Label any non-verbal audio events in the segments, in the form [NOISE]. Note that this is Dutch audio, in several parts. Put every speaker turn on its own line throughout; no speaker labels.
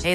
Hey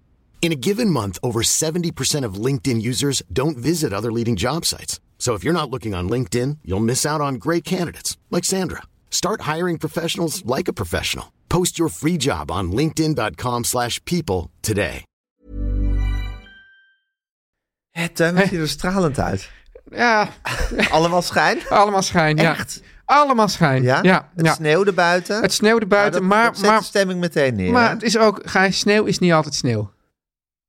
In a given month, over 70% of LinkedIn users don't visit other leading job sites. So if you're not looking on LinkedIn, you'll miss out on great candidates like Sandra. Start hiring professionals like a professional. Post your free job on linkedin.com slash people today.
Het tuin ziet er stralend uit.
Ja,
Allemaal schijn?
[LAUGHS] allemaal schijn. Ja.
Echt?
Allemaal schijn.
Ja?
Ja, ja.
Het sneeuwde buiten.
Het sneeuwde buiten,
Nou, dat-
maar,
dat zet
maar,
de stemming meteen neer.
maar
hè?
het is ook, Gijs, sneeuw is niet altijd sneeuw.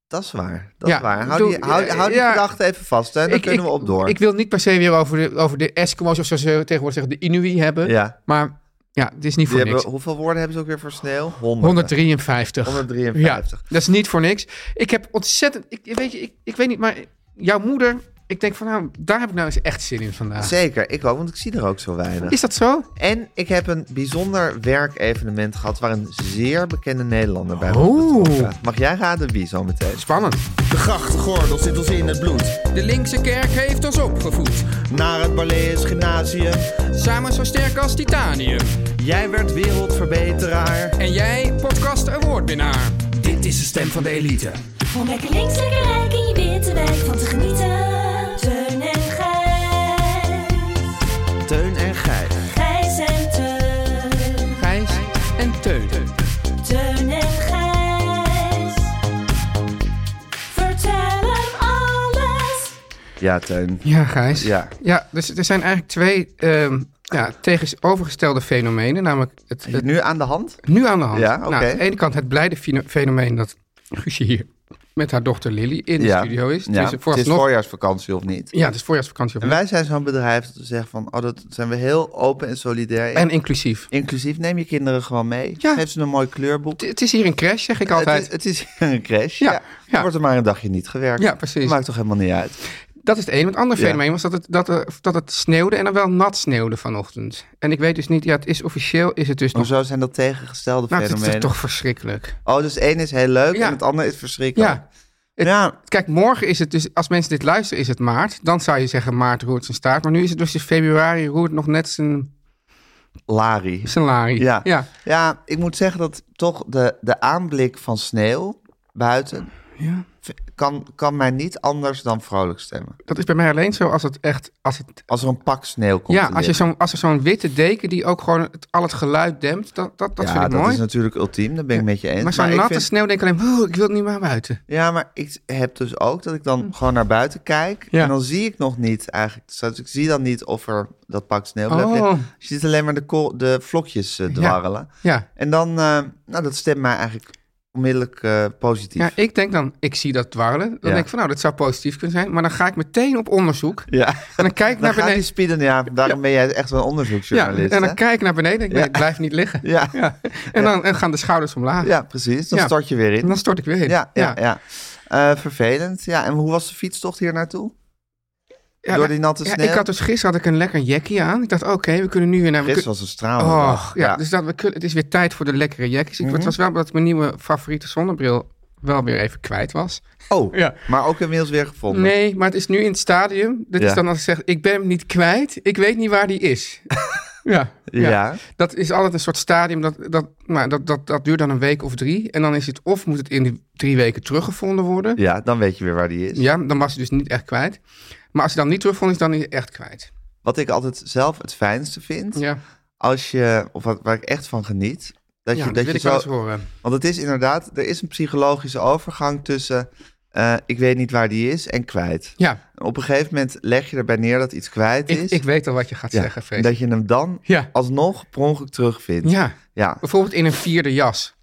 Dat is waar. Dat
Ja,
is waar. Hou
bedoel,
die, hou, hou die
ja,
gedachte even vast. En dan kunnen we op door.
Ik wil niet per se weer over de, over de Eskimo's, of zoals ze tegenwoordig zeggen, de Inuit hebben.
Ja.
Maar ja, het is niet
Die
voor
hebben,
niks.
hoeveel woorden hebben ze ook weer voor sneeuw? 100.
153.
153.
Ja, dat is niet voor niks. Ik heb ontzettend, ik, weet je, ik, ik weet niet, maar jouw moeder, ik denk van nou, daar heb ik nou eens echt zin in vandaag.
Zeker, ik ook, want ik zie er ook zo weinig.
Is dat zo?
En ik heb een bijzonder werkevenement gehad waar een zeer bekende Nederlander bij was
Oh.
betrokken. Mag jij raden wie zo meteen?
Spannend.
De grachtgordel zit ons in het bloed.
De linkse kerk heeft ons opgevoed.
Naar het Barlees Gymnasium.
Samen zo sterk als titanium.
Jij werd wereldverbeteraar.
En jij, podcast awardwinnaar. Dit is de stem van de elite.
Om lekker links, lekker rijk in je witte wijk van te genieten. Teun en Gijs.
Teun en Gijs.
Gijs en Teun.
Gijs en Teun.
Teun en Gijs. Vertel hem alles.
Ja, Teun.
Ja, Gijs.
Ja.
ja dus er zijn eigenlijk twee ehm, ja, tegenovergestelde fenomenen. Namelijk het, het
Nu aan de hand?
nu aan de hand.
Ja,
nou,
oké.
aan de ene kant het blijde fino- fenomeen dat Guusje hier met haar dochter Lily in de studio is.
Ja.
het
Het is
nog,
voorjaarsvakantie of niet?
ja, het is voorjaarsvakantie.
En wij zijn zo'n bedrijf dat we zeggen van, oh, dat zijn we heel open en solidair. in.
en inclusief.
Inclusief, neem je kinderen gewoon mee.
Ja.
Geef ze een mooi kleurboek.
Het, het is hier een crash, zeg ik
Het
altijd.
is, het is [LAUGHS] een crash.
Ja,
Ja.
ja.
Wordt er maar een dagje niet gewerkt.
Ja, precies. Oh.
Maakt toch helemaal niet uit.
dat is het ene. Het andere
Ja.
fenomeen was dat het, dat, er- dat het sneeuwde en dan wel nat sneeuwde vanochtend. En ik weet dus niet, ja, het is officieel, is het dus nog...
Hoezo zijn dat tegengestelde
Nou, het is
fenomenen?
toch verschrikkelijk.
Oh, dus één is heel leuk
Ja.
en het ander is verschrikkelijk.
Ja,
Ja. Ja,
Kijk, morgen is het dus, als mensen dit luisteren, is het maart. Dan zou je zeggen, maart roert zijn staart. Maar nu is het dus in februari, roert nog net zijn
Lari.
salarie.
Ja.
ja.
Ja, ik moet zeggen dat toch de, de aanblik van sneeuw buiten
Ja.
v- kan, kan mij niet anders dan vrolijk stemmen.
Dat is bij mij alleen zo als het echt, als het...
Als er een pak sneeuw komt.
Ja,
te
als, je
liggen.
zo'n als er zo'n witte deken die ook gewoon het, al het geluid dempt, dat, dat, dat
ja,
vind ik
dat
mooi.
is natuurlijk ultiem, daar ben ik met je eens.
maar zo'n
ik
natte
vind-
sneeuw denk ik alleen, "Oeh, ik wil niet meer buiten.
Ja, maar ik heb dus ook dat ik dan gewoon naar buiten kijk.
Hm. Ja.
En dan zie ik nog niet eigenlijk. Dus ik zie dan niet of er dat pak sneeuw blijft
Oh.
liggen. Je ziet alleen maar de, kool- de vlokjes eh, dwarrelen.
Ja.
En dan, eh, nou, dat stemt mij eigenlijk onmiddellijk eh, positief.
ja, ik denk dan, ik zie dat dwarrelen. Dan
Ja.
denk ik van, nou, dat zou positief kunnen zijn. Maar dan ga ik meteen op onderzoek.
Ja.
En dan kijk ik
Dan
naar
gaat die
beneden.
speeden, ja, daarom ben jij echt wel een
Ja,
onderzoeksjournalist.
en
hè?
dan kijk ik naar beneden. Ik, denk,
Ja.
nee, ik blijf niet liggen.
Ja.
Ja. En dan en gaan de schouders omlaag.
ja, precies. Dan
Ja.
stort je weer in.
En dan stort ik weer in.
Ja, ja, ja. Eh, vervelend. Ja, en hoe was de fietstocht hier naartoe?
Ja, nou,
Door die natte
ja,
sneeuw?
ik had dus gisteren had ik een lekker jackie aan. Ik dacht, oké, we kunnen nu weer naar... we
Gisteren
kun-
was een stralende
Oh,
dag.
ja, Dus dat we kunnen, het is weer tijd voor de lekkere jackies. Ik,
Mhm.
Het was wel dat mijn nieuwe favoriete zonnebril wel weer even kwijt was.
Oh,
Ja.
maar ook inmiddels weer gevonden.
Nee, maar het is nu in het stadium. Dat
Ja.
is dan als ik zeg, ik ben hem niet kwijt. Ik weet niet waar die
[LAUGHS]
is. ja, ja.
Ja.
Dat is altijd een soort stadium. Dat, dat, nou, dat, dat, dat duurt dan een week of drie. En dan is het of moet het in die drie weken teruggevonden worden.
Ja, dan weet je weer waar die is.
Ja, dan was hij dus niet echt kwijt. Maar als hij dan niet terugvond, is dan is hij echt kwijt.
Wat ik altijd zelf het fijnste vind,
Ja,
als je, of wat, waar ik echt van geniet, dat
ja
je,
dat,
dat
wil
je
ik wel
zo,
eens horen.
want het is inderdaad, er is een psychologische overgang tussen eh, ik weet niet waar die is en kwijt.
Ja.
En Op een gegeven moment leg je erbij neer dat iets kwijt
Ik,
is.
ik weet al wat je gaat
Ja,
zeggen,
en
Freek.
dat je hem dan
Ja.
alsnog per ongeluk terugvindt.
Ja.
Ja.
Bijvoorbeeld in een vierde jas.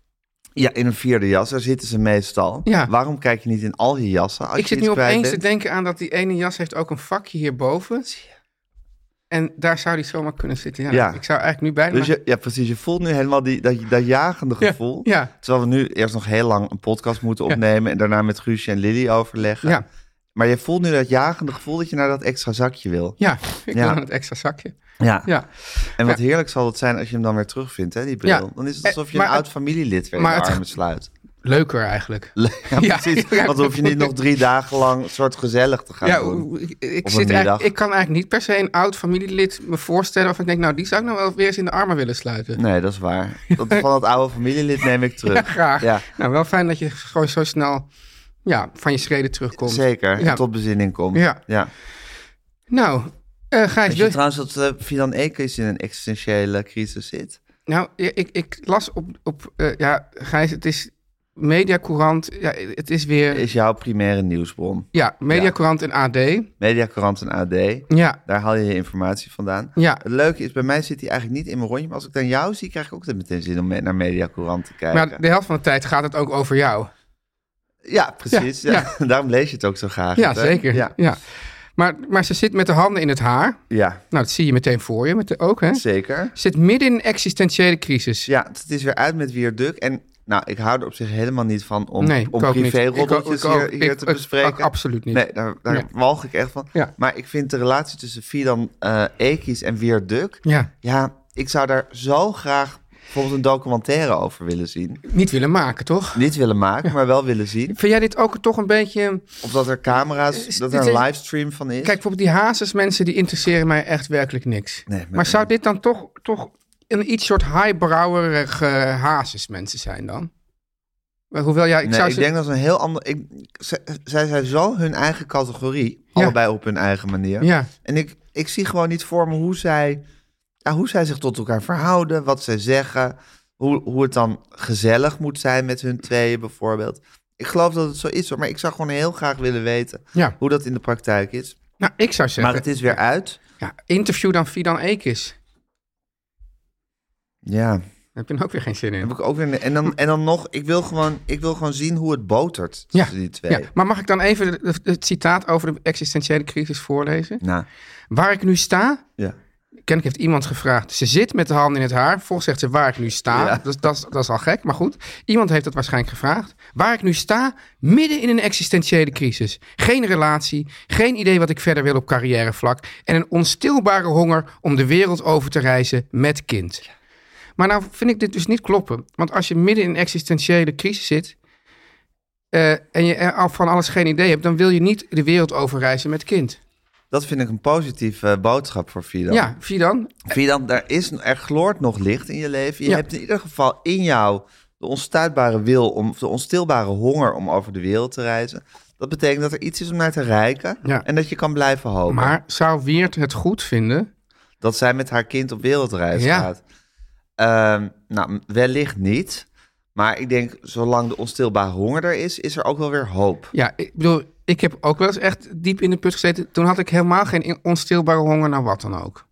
Ja, in een vierde jas, daar zitten ze meestal.
Ja.
Waarom kijk je niet in al je jassen als
ik
je
zit
iets
nu
kwijt
opeens te
bent?
denken aan dat die ene jas heeft ook een vakje hierboven. En daar zou die zomaar kunnen zitten. Ja,
Ja.
Ik zou eigenlijk nu bijna...
Dus je, ja, precies. Je voelt nu helemaal die, dat, dat jagende
[LAUGHS] Ja,
gevoel.
ja.
Terwijl we nu eerst nog heel lang een podcast moeten opnemen... en daarna met Guusje en Lily overleggen.
Ja.
Maar je voelt nu dat jagende gevoel dat je naar dat extra zakje wil.
Ja, ik
Ja.
wil aan het extra zakje.
Ja.
Ja.
En wat heerlijk zal het zijn als je hem dan weer terugvindt, hè, die bril.
Ja.
Dan is het
Eh,
alsof je
maar
een oud
het-
familielid weer
maar
in de
het-
armen
[LAUGHS]
sluit.
Leuker eigenlijk.
Ja,
Ja,
precies.
ja,
Want dan hoef je niet nog drie dagen lang een soort gezellig te gaan
Ja,
doen.
ik, ik,
Op een
zit eigenlijk,
middag.
ik kan eigenlijk niet per se een oud familielid me voorstellen... of ik denk, nou, die zou ik nou wel weer eens in de armen willen sluiten.
Nee, dat is waar. Dat, van dat oude familielid neem ik terug.
[LAUGHS] Ja, graag.
Ja,
Nou, wel fijn dat je gewoon zo snel ja, van je schreden terugkomt.
zeker.
Ja.
Tot bezinning komt.
Ja.
ja.
Nou, eh Gijs,
Weet je
wil-
trouwens dat eh, Fidan Ekes in een existentiële crisis zit?
nou, ik, ik las op... op eh, ja, Gijs, het is Mediacourant. Ja, het is weer...
Is jouw primaire nieuwsbron.
Ja, Mediacourant en AD.
Mediacorant en AD.
Ja,
Daar haal je je informatie vandaan.
Ja.
Het leuke is, bij mij zit hij eigenlijk niet in mijn rondje. Maar als ik dan jou zie, krijg ik ook meteen zin om mee naar Mediacorant te kijken.
maar de helft van de tijd gaat het ook over jou.
Ja, precies.
Ja,
Ja, [LAUGHS] Daarom lees je het ook zo graag.
Ja,
hè?
zeker. Ja.
Ja,
Maar, maar ze zit met de handen in het haar.
ja
Nou, dat zie je meteen voor je met de, ook, hè?
zeker.
Zit midden in een existentiële crisis.
Ja, het is weer uit met Weer Duk. En nou, ik hou er op zich helemaal niet van om,
Nee, ik
om
ook niet.
privé-roddeltjes
Ik ook- ik
hier,
ook-
hier
ik-
te
ik-
bespreken.
ook absoluut niet.
Nee, daar, daar
Nee.
walg ik echt van.
Ja.
Maar ik vind de relatie tussen Fidan eh Ekis en Weer Duk...
Ja.
ja, ik zou daar zo graag bijvoorbeeld een documentaire over willen zien.
Niet willen maken, toch?
Niet willen maken, maar wel willen zien.
Vind jij dit ook toch een beetje...
Of dat er camera's,
Is
dat
dit
er een
een-
livestream van is.
Kijk, bijvoorbeeld die hazesmensen, die interesseren mij echt werkelijk niks.
Nee, maar-
maar zou dit dan toch, toch een iets soort highbrowerig eh hazesmensen zijn dan? Maar Hoewel, ja, ik
nee,
zou
ik
ze...
denk dat is een heel ander. Ik, ze- zij zijn zo hun eigen categorie,
Ja.
allebei op hun eigen manier.
Ja.
En ik, ik zie gewoon niet voor me hoe zij, ja, hoe zij zich tot elkaar verhouden, wat zij zeggen, hoe, hoe het dan gezellig moet zijn met hun tweeën bijvoorbeeld. Ik geloof dat het zo is, hoor, maar ik zou gewoon heel graag willen weten
Ja.
hoe dat in de praktijk is.
Nou, ik zou zeggen...
Maar het is weer uit.
Ja, interview dan Fidan Ekis.
Ja,
Daar heb je dan ook weer geen zin in.
heb ik ook weer. En dan, en dan nog, ik wil, gewoon, ik wil gewoon zien hoe het botert tussen die twee.
ja, maar mag ik dan even de- de- het citaat over de existentiële crisis voorlezen?
Nou,
Waar ik nu sta,
ja.
kennelijk heeft iemand gevraagd. Ze zit met de handen in het haar. Vervolgens zegt ze waar ik nu sta.
Ja.
Dus dat, is- dat is al gek, maar goed. Iemand heeft dat waarschijnlijk gevraagd. Waar ik nu sta, midden in een existentiële crisis. Geen relatie, geen idee wat ik verder wil op carrièrevlak. En een onstilbare honger om de wereld over te reizen met kind. Maar nou vind ik dit dus niet kloppen. Want als je midden in een existentiële crisis zit... eh, en je er al van alles geen idee hebt... dan wil je niet de wereld overreizen met kind.
Dat vind ik een positieve eh, boodschap voor Fidan.
Ja, zie je dan?
Fidan, er, is, er gloort nog licht in je leven. Je
Ja.
hebt in ieder geval in jou de onstuitbare wil, om, of de onstilbare honger om over de wereld te reizen. Dat betekent dat er iets is om naar te reiken
Ja.
en dat je kan blijven hopen.
Maar zou Weert het goed vinden?
Dat zij met haar kind op wereldreis
Ja.
gaat. Ehm, nou, wellicht niet. Maar ik denk, zolang de onstilbare honger er is, is er ook wel weer hoop.
Ja, ik bedoel, ik heb ook wel eens echt diep in de put gezeten. Toen had ik helemaal geen in- onstilbare honger naar wat dan ook.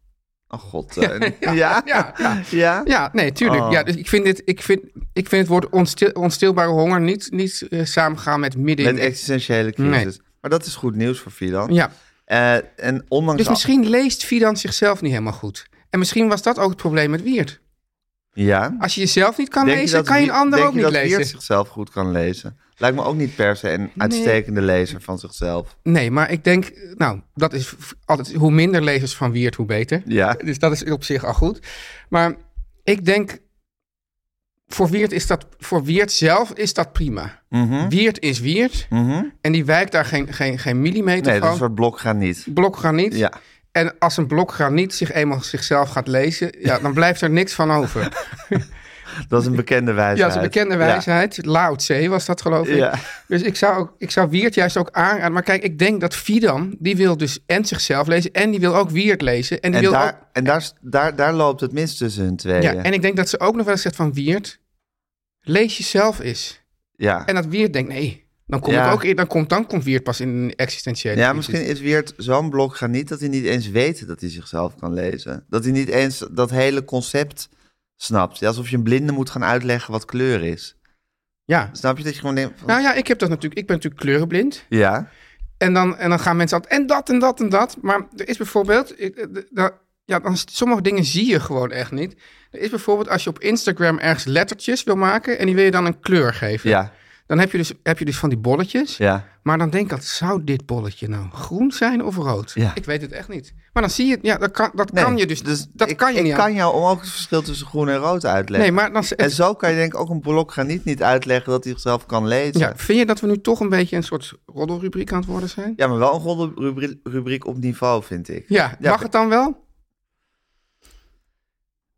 Oh god.
[LAUGHS]
eh, ja?
Ja, ja.
Ja?
[LAUGHS] Ja, nee, tuurlijk.
Oh.
Ja, dus ik vind, dit, ik, vind, ik vind het woord onstil- onstilbare honger niet, niet eh, samengaan met midden
Met
in...
existentiële crisis. Maar dat is goed nieuws voor Fidan.
Ja,
Eh, en ondanks...
dus
al-
misschien leest Fidan zichzelf niet helemaal goed. En misschien was dat ook het probleem met Weert.
Ja.
Als je jezelf niet kan
Denk
lezen,
dat
kan je
Wie-
een ander
denk
ook
je
niet
dat Wiert
lezen.
zichzelf goed kan lezen? Lijkt me ook niet per se een uitstekende lezer van zichzelf.
Nee, maar ik denk, nou, dat is v- altijd, hoe minder lezers van Wiert, hoe beter.
Ja.
Dus dat is op zich al goed. Maar ik denk, voor Wiert, is dat, voor Wiert zelf is dat prima.
Mhm.
Wiert is Wiert en die wijkt daar geen, geen, geen millimeter
Nee, dat
van.
is soort blok gaan niet.
Blok graniet.
Ja.
En als een blok graniet zich eenmaal zichzelf gaat lezen, ja, dan blijft er niks van
[LAUGHS]
over.
Dat is een bekende wijsheid.
Ja, dat is een bekende wijsheid. Lao Tse was dat geloof ik.
Ja.
Dus ik zou, ook, ik zou Wiert juist ook aanraden. Maar kijk, ik denk dat Fidan, die wil dus en zichzelf lezen... en die wil ook Wiert lezen. En, die
En,
wil
daar,
ook,
en daar, daar, daar loopt het mis tussen hun tweeën.
ja, en ik denk dat ze ook nog wel eens zegt van Wiert... lees jezelf eens.
Ja.
En dat Wiert denkt, nee, Dan, kom
Ja.
ik ook in, dan, komt, dan komt Wiert pas in een existentiële
Ja,
crisis.
misschien is Weert zo'n blok gaan niet dat hij niet eens weet dat hij zichzelf kan lezen. Dat hij niet eens dat hele concept snapt. Ja, alsof je een blinde moet gaan uitleggen wat kleur is.
Ja.
Snap je dat je gewoon denkt... van-
Nou ja, ik, heb dat natuurlijk, ik ben natuurlijk kleurenblind.
Ja,
En dan, en dan gaan mensen altijd en dat en dat en dat. Maar er is bijvoorbeeld, ik- eh, d- dat- ja, dan, sommige dingen zie je gewoon echt niet. Er is bijvoorbeeld als je op Instagram ergens lettertjes wil maken en die wil je dan een kleur geven.
ja,
Dan heb je, dus, heb je dus van die bolletjes.
ja.
Maar dan denk ik, altijd, zou dit bolletje nou groen zijn of rood?
Ja.
Ik weet het echt niet. Maar dan zie je het, ja, dat kan, dat
Nee,
kan je dus, dat
ik,
kan je
ik
niet. aan-
kan jou ook het verschil tussen groen en rood uitleggen.
nee, maar dan, het-
En zo kan je denk ik ook een blok gaan niet, niet uitleggen dat hij zichzelf kan lezen.
ja, vind je dat we nu toch een beetje een soort roddelrubriek aan het worden zijn?
Ja, maar wel een ronde rubriek, rubriek op niveau, vind ik.
Ja,
Ja,
mag het dan wel?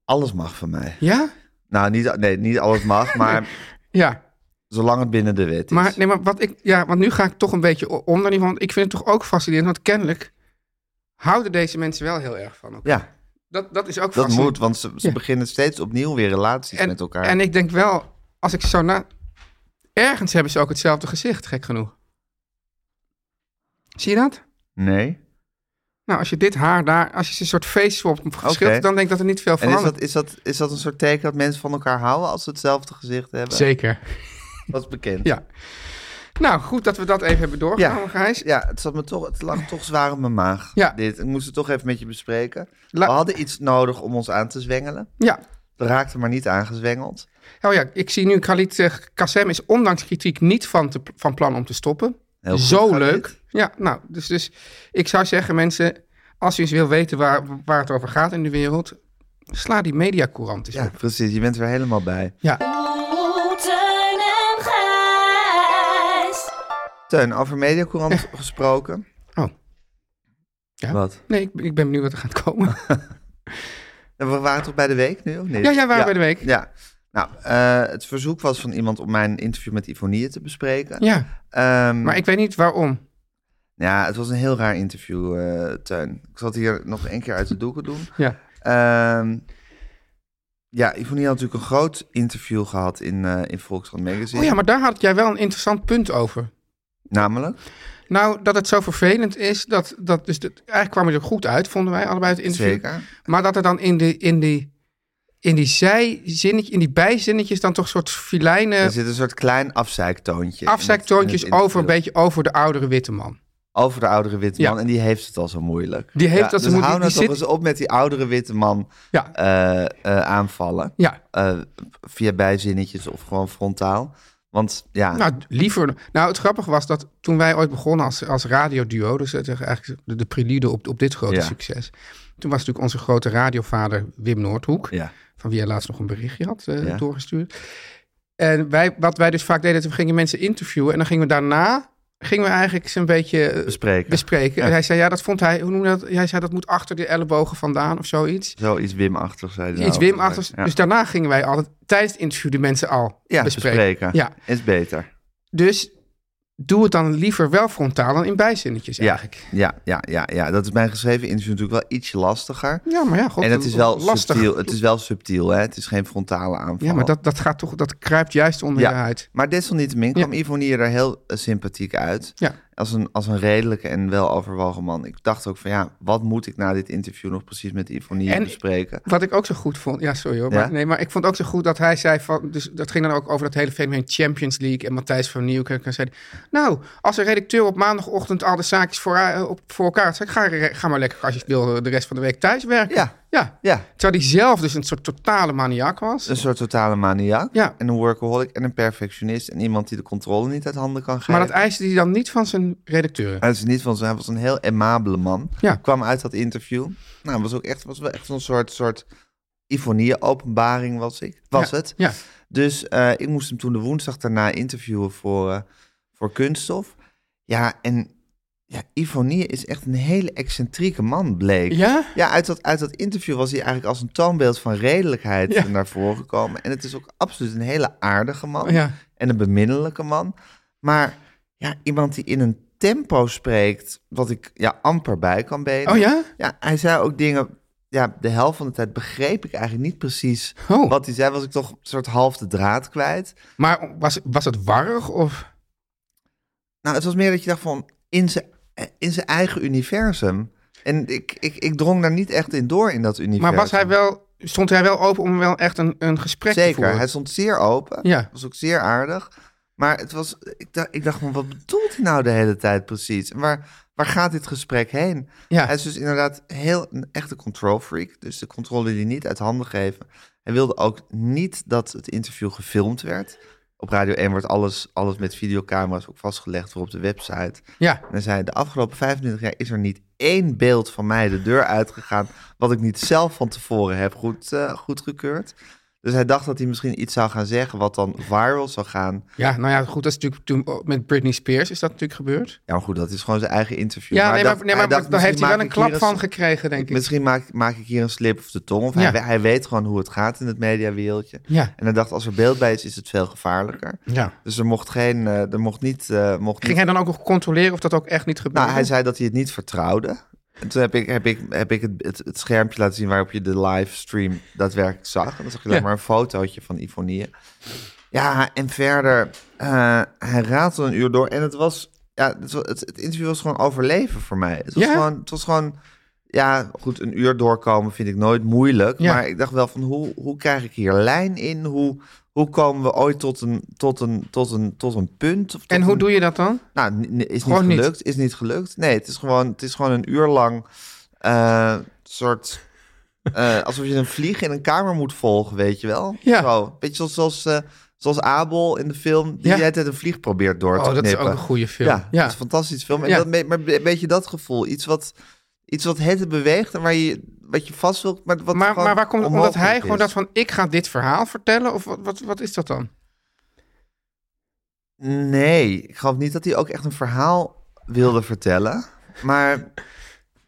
Alles mag van mij.
Ja?
Nou, niet, nee, niet alles
[LAUGHS]
mag, maar
Ja.
zolang het binnen de wet is.
Maar, nee, maar wat ik, ja, want nu ga ik toch een beetje o- onder die, want ik vind het toch ook fascinerend, want kennelijk houden deze mensen wel heel erg van elkaar.
Ja,
Dat, dat is ook
dat
fascinerend.
moet, want ze, ze
Ja.
beginnen steeds opnieuw weer relaties
en,
met elkaar.
En ik denk wel, als ik zo na, ergens hebben ze ook hetzelfde gezicht, gek genoeg. Zie je dat?
nee.
Nou, als je dit haar daar, als je ze een soort face swap verschilt,
Oké.
dan denk ik dat er niet veel
En is
verandert.
dat, is, dat, is dat een soort teken dat mensen van elkaar houden als ze hetzelfde gezicht hebben?
Zeker.
Dat is bekend.
Ja. Nou, goed dat we dat even hebben doorgenomen, Gijs.
Ja, het, zat me toch, het lag toch zwaar op mijn maag.
Ja.
Dit. Ik moest het toch even met je bespreken.
La-
We hadden iets nodig om ons aan te zwengelen.
ja.
We raakten maar niet aangezwengeld.
Oh ja, ik zie nu Khalid eh, Kassem is ondanks kritiek niet van, te, van plan om te stoppen.
Heel goed,
Zo
Khalid.
leuk. Ja, nou, dus, dus ik zou zeggen mensen, als u eens wil weten waar, waar het over gaat in de wereld, sla die mediacourant eens
Ja,
op.
precies. Je bent er helemaal bij.
Ja,
Oh, Teun en Gijs.
Teun, over Mediacourant gesproken.
oh. Ja?
Wat?
Nee, ik, ik ben benieuwd wat er
[LAUGHS]
gaat komen.
We waren toch bij de week nu, of niet?
Ja, ja, we waren bij de week.
Ja. Nou, eh, het verzoek was van iemand om mijn interview met Ivonie te bespreken.
ja,
Ehm,
maar ik weet niet waarom.
Ja, het was een heel raar interview, eh Teun. Ik zat hier nog één keer uit de doeken doen.
Ja,
Ehm, ja, Ivonie had natuurlijk een groot interview gehad in, eh, in Volkskrant Magazine.
oh ja, maar daar had jij wel een interessant punt over.
Namelijk?
Nou, dat het zo vervelend is, dat, dat dus de- eigenlijk kwam het er goed uit, vonden wij allebei het interview.
Zeker.
Maar dat er dan in die, in die, in die zijzinnetjes, in die bijzinnetjes dan toch een soort
Er
filijnen
zit een soort klein afzeiktoontje. in het- in
afzijktoontjes
het
Eh, over een
interview.
beetje over de oudere witte man.
Over de oudere witte man.
Ja.
En die heeft het al zo moeilijk.
Die heeft dat
dus
zo moeilijk.
hou nou
Die
toch
zit-
eens op met die oudere witte man
Ja,
eh, eh, aanvallen.
ja.
Eh, via bijzinnetjes of gewoon frontaal. Want ja,
Nou, liever. Nou, het grappige was dat toen wij ooit begonnen als, als radioduo, dus het is eigenlijk de, de prelude op, op dit grote
Ja.
succes. Toen was natuurlijk onze grote radiovader Wim Noordhoek,
ja.
van wie hij laatst nog een berichtje had eh,
Ja.
doorgestuurd. En wij, wat wij dus vaak deden, toen gingen mensen interviewen en dan gingen we daarna, gingen we eigenlijk ze een beetje eh,
bespreken.
bespreken.
Ja.
En hij zei, ja, dat vond hij, hoe noem je dat? Hij zei, dat moet achter de ellebogen vandaan of zoiets.
Zoiets Wim-achtig, zei hij
Iets
nou.
wimachtigs.
Ja.
Dus daarna gingen wij altijd tijdens het interview de mensen al
ja,
bespreken.
bespreken.
Ja,
Is beter.
dus doe het dan liever wel frontaal dan in bijzinnetjes
Ja,
eigenlijk.
ja, ja, ja, ja. Dat is bij een geschreven interview natuurlijk wel iets lastiger.
Ja, maar ja, god,
en het is wel
lastig.
subtiel. Het is wel subtiel, hè? Het is geen frontale aanval.
Ja, maar dat, dat gaat toch, dat kruipt juist onder
Ja.
je huid.
Maar desalniettemin
Ja.
kwam Ivonie er heel eh, sympathiek uit.
Ja.
Als, een, als een redelijke en wel overwogen man. Ik dacht ook van ja, wat moet ik na dit interview nog precies met Ivonie
En-
bespreken?
Wat ik ook zo goed vond, ja, sorry hoor,
Ja?
maar, nee, maar ik vond ook zo goed dat hij zei van, dus dat ging dan ook over dat hele fenomeen Champions League en Matthijs van Nieuwkerk. En zei, hij, nou, als een redacteur op maandagochtend al de zaakjes voor, eh, op, voor elkaar had, zei ik, ga, ga maar lekker als je het wil eh, de rest van de week thuis werken.
Ja.
ja.
Ja,
Terwijl hij zelf dus een soort totale maniak was.
een soort totale maniak.
Ja.
En een workaholic en een perfectionist. En iemand die de controle niet uit handen kan geven.
maar dat eiste hij dan niet van zijn redacteuren.
Hij is niet van zo, hij was een heel amabele man.
eh, Ja.
Kwam uit dat interview. Nou, was ook echt, was wel echt een soort, soort Ivonie-openbaring was ik. Was
Ja,
het.
Ja.
Dus eh, ik moest hem toen de woensdag daarna interviewen voor, eh, voor kunststof. Ja, en ja, Ivonie is echt een hele excentrieke man, bleek.
Ja?
Ja, uit dat, uit dat interview was hij eigenlijk als een toonbeeld van redelijkheid
Ja.
naar voren gekomen. En het is ook absoluut een hele aardige man
Ja.
en een beminnelijke man. Maar ja, iemand die in een tempo spreekt wat ik ja, amper bij kan benen.
Oh ja?
Ja, hij zei ook dingen... Ja, de helft van de tijd begreep ik eigenlijk niet precies
Oh.
wat hij zei. Was ik toch een soort half de draad kwijt.
Maar was, was het warrig of...
Nou, het was meer dat je dacht van in zijn, in zijn eigen universum. En ik, ik, ik drong daar niet echt in door in dat universum.
Maar was hij wel, stond hij wel open om wel echt een, een gesprek te
Zeker,
voeren?
hij stond zeer open.
Ja.
Was ook zeer aardig. Maar het was, ik, dacht, ik dacht van, wat bedoelt hij nou de hele tijd precies? En waar, waar gaat dit gesprek heen?
Ja.
Hij is dus inderdaad heel, een echte control freak. Dus de controle die niet uit handen geven. Hij wilde ook niet dat het interview gefilmd werd. Op Radio 1 wordt alles, alles met videocamera's ook vastgelegd voor op de website.
Ja.
En hij zei, de afgelopen 25 jaar is er niet één beeld van mij de deur uitgegaan... wat ik niet zelf van tevoren heb goed, eh, goedgekeurd. Dus hij dacht dat hij misschien iets zou gaan zeggen wat dan viral zou gaan.
Ja, nou ja, goed, dat is natuurlijk toen oh, met Britney Spears is dat natuurlijk gebeurd.
Ja, maar goed, dat is gewoon zijn eigen interview.
Ja,
hij
nee,
dacht-
maar, nee, maar,
hij dacht,
daar heeft
misschien
hij wel
maak
een
ik
klap
hier
van
eens-
gekregen, denk ik.
Misschien maak, maak ik hier een slip of de tong. Of
Ja.
hij, we- hij weet gewoon hoe het gaat in het mediawereldje.
Ja.
En hij dacht, als er beeld bij is, is het veel gevaarlijker.
Ja.
Dus er mocht geen, eh, er mocht niet... eh, mocht
Ging
niet
hij dan ook nog controleren of dat ook echt niet gebeurde?
nou, hij zei dat hij het niet vertrouwde. En toen heb ik, heb ik, heb ik het, het, het schermpje laten zien waarop je de livestream daadwerkelijk zag. En dan zag je
Ja.
alleen maar een fotootje van Ivonie. Ja, en verder, eh, hij ratelde een uur door. En het was, ja, het, wa- het, het interview was gewoon overleven voor mij. Het was,
Ja?
gewoon, het was gewoon, ja, goed, een uur doorkomen vind ik nooit moeilijk.
Ja.
Maar ik dacht wel van, hoe, hoe krijg ik hier lijn in? Hoe, hoe komen we ooit tot een, tot een, tot een, tot een punt? Of tot
En hoe
een-
doe je dat dan?
nou, n- n- is niet
Gewoon niet.
gelukt. Is niet gelukt. Nee, het is gewoon, het is gewoon een uur lang eh, soort. eh, alsof je een vlieg in een kamer moet volgen, weet je wel?
Ja.
Zo. Beetje zoals, zoals, eh, zoals Abel in de film, die
Ja.
de hele tijd een vlieg probeert door te
Oh, dat is
knippen.
ook een goede film.
Ja,
Ja.
dat is een fantastische film. En
Ja.
dat, me- maar een beetje dat gevoel. Iets wat, iets wat het beweegt en waar je, wat je vast wilt, maar wat
maar,
gewoon
maar waar komt het? Omdat hij
onmogelijk
gewoon
is.
dat van, ik ga dit verhaal vertellen? Of wat, wat, wat is dat dan?
Nee, ik geloof niet dat hij ook echt een verhaal wilde vertellen. Maar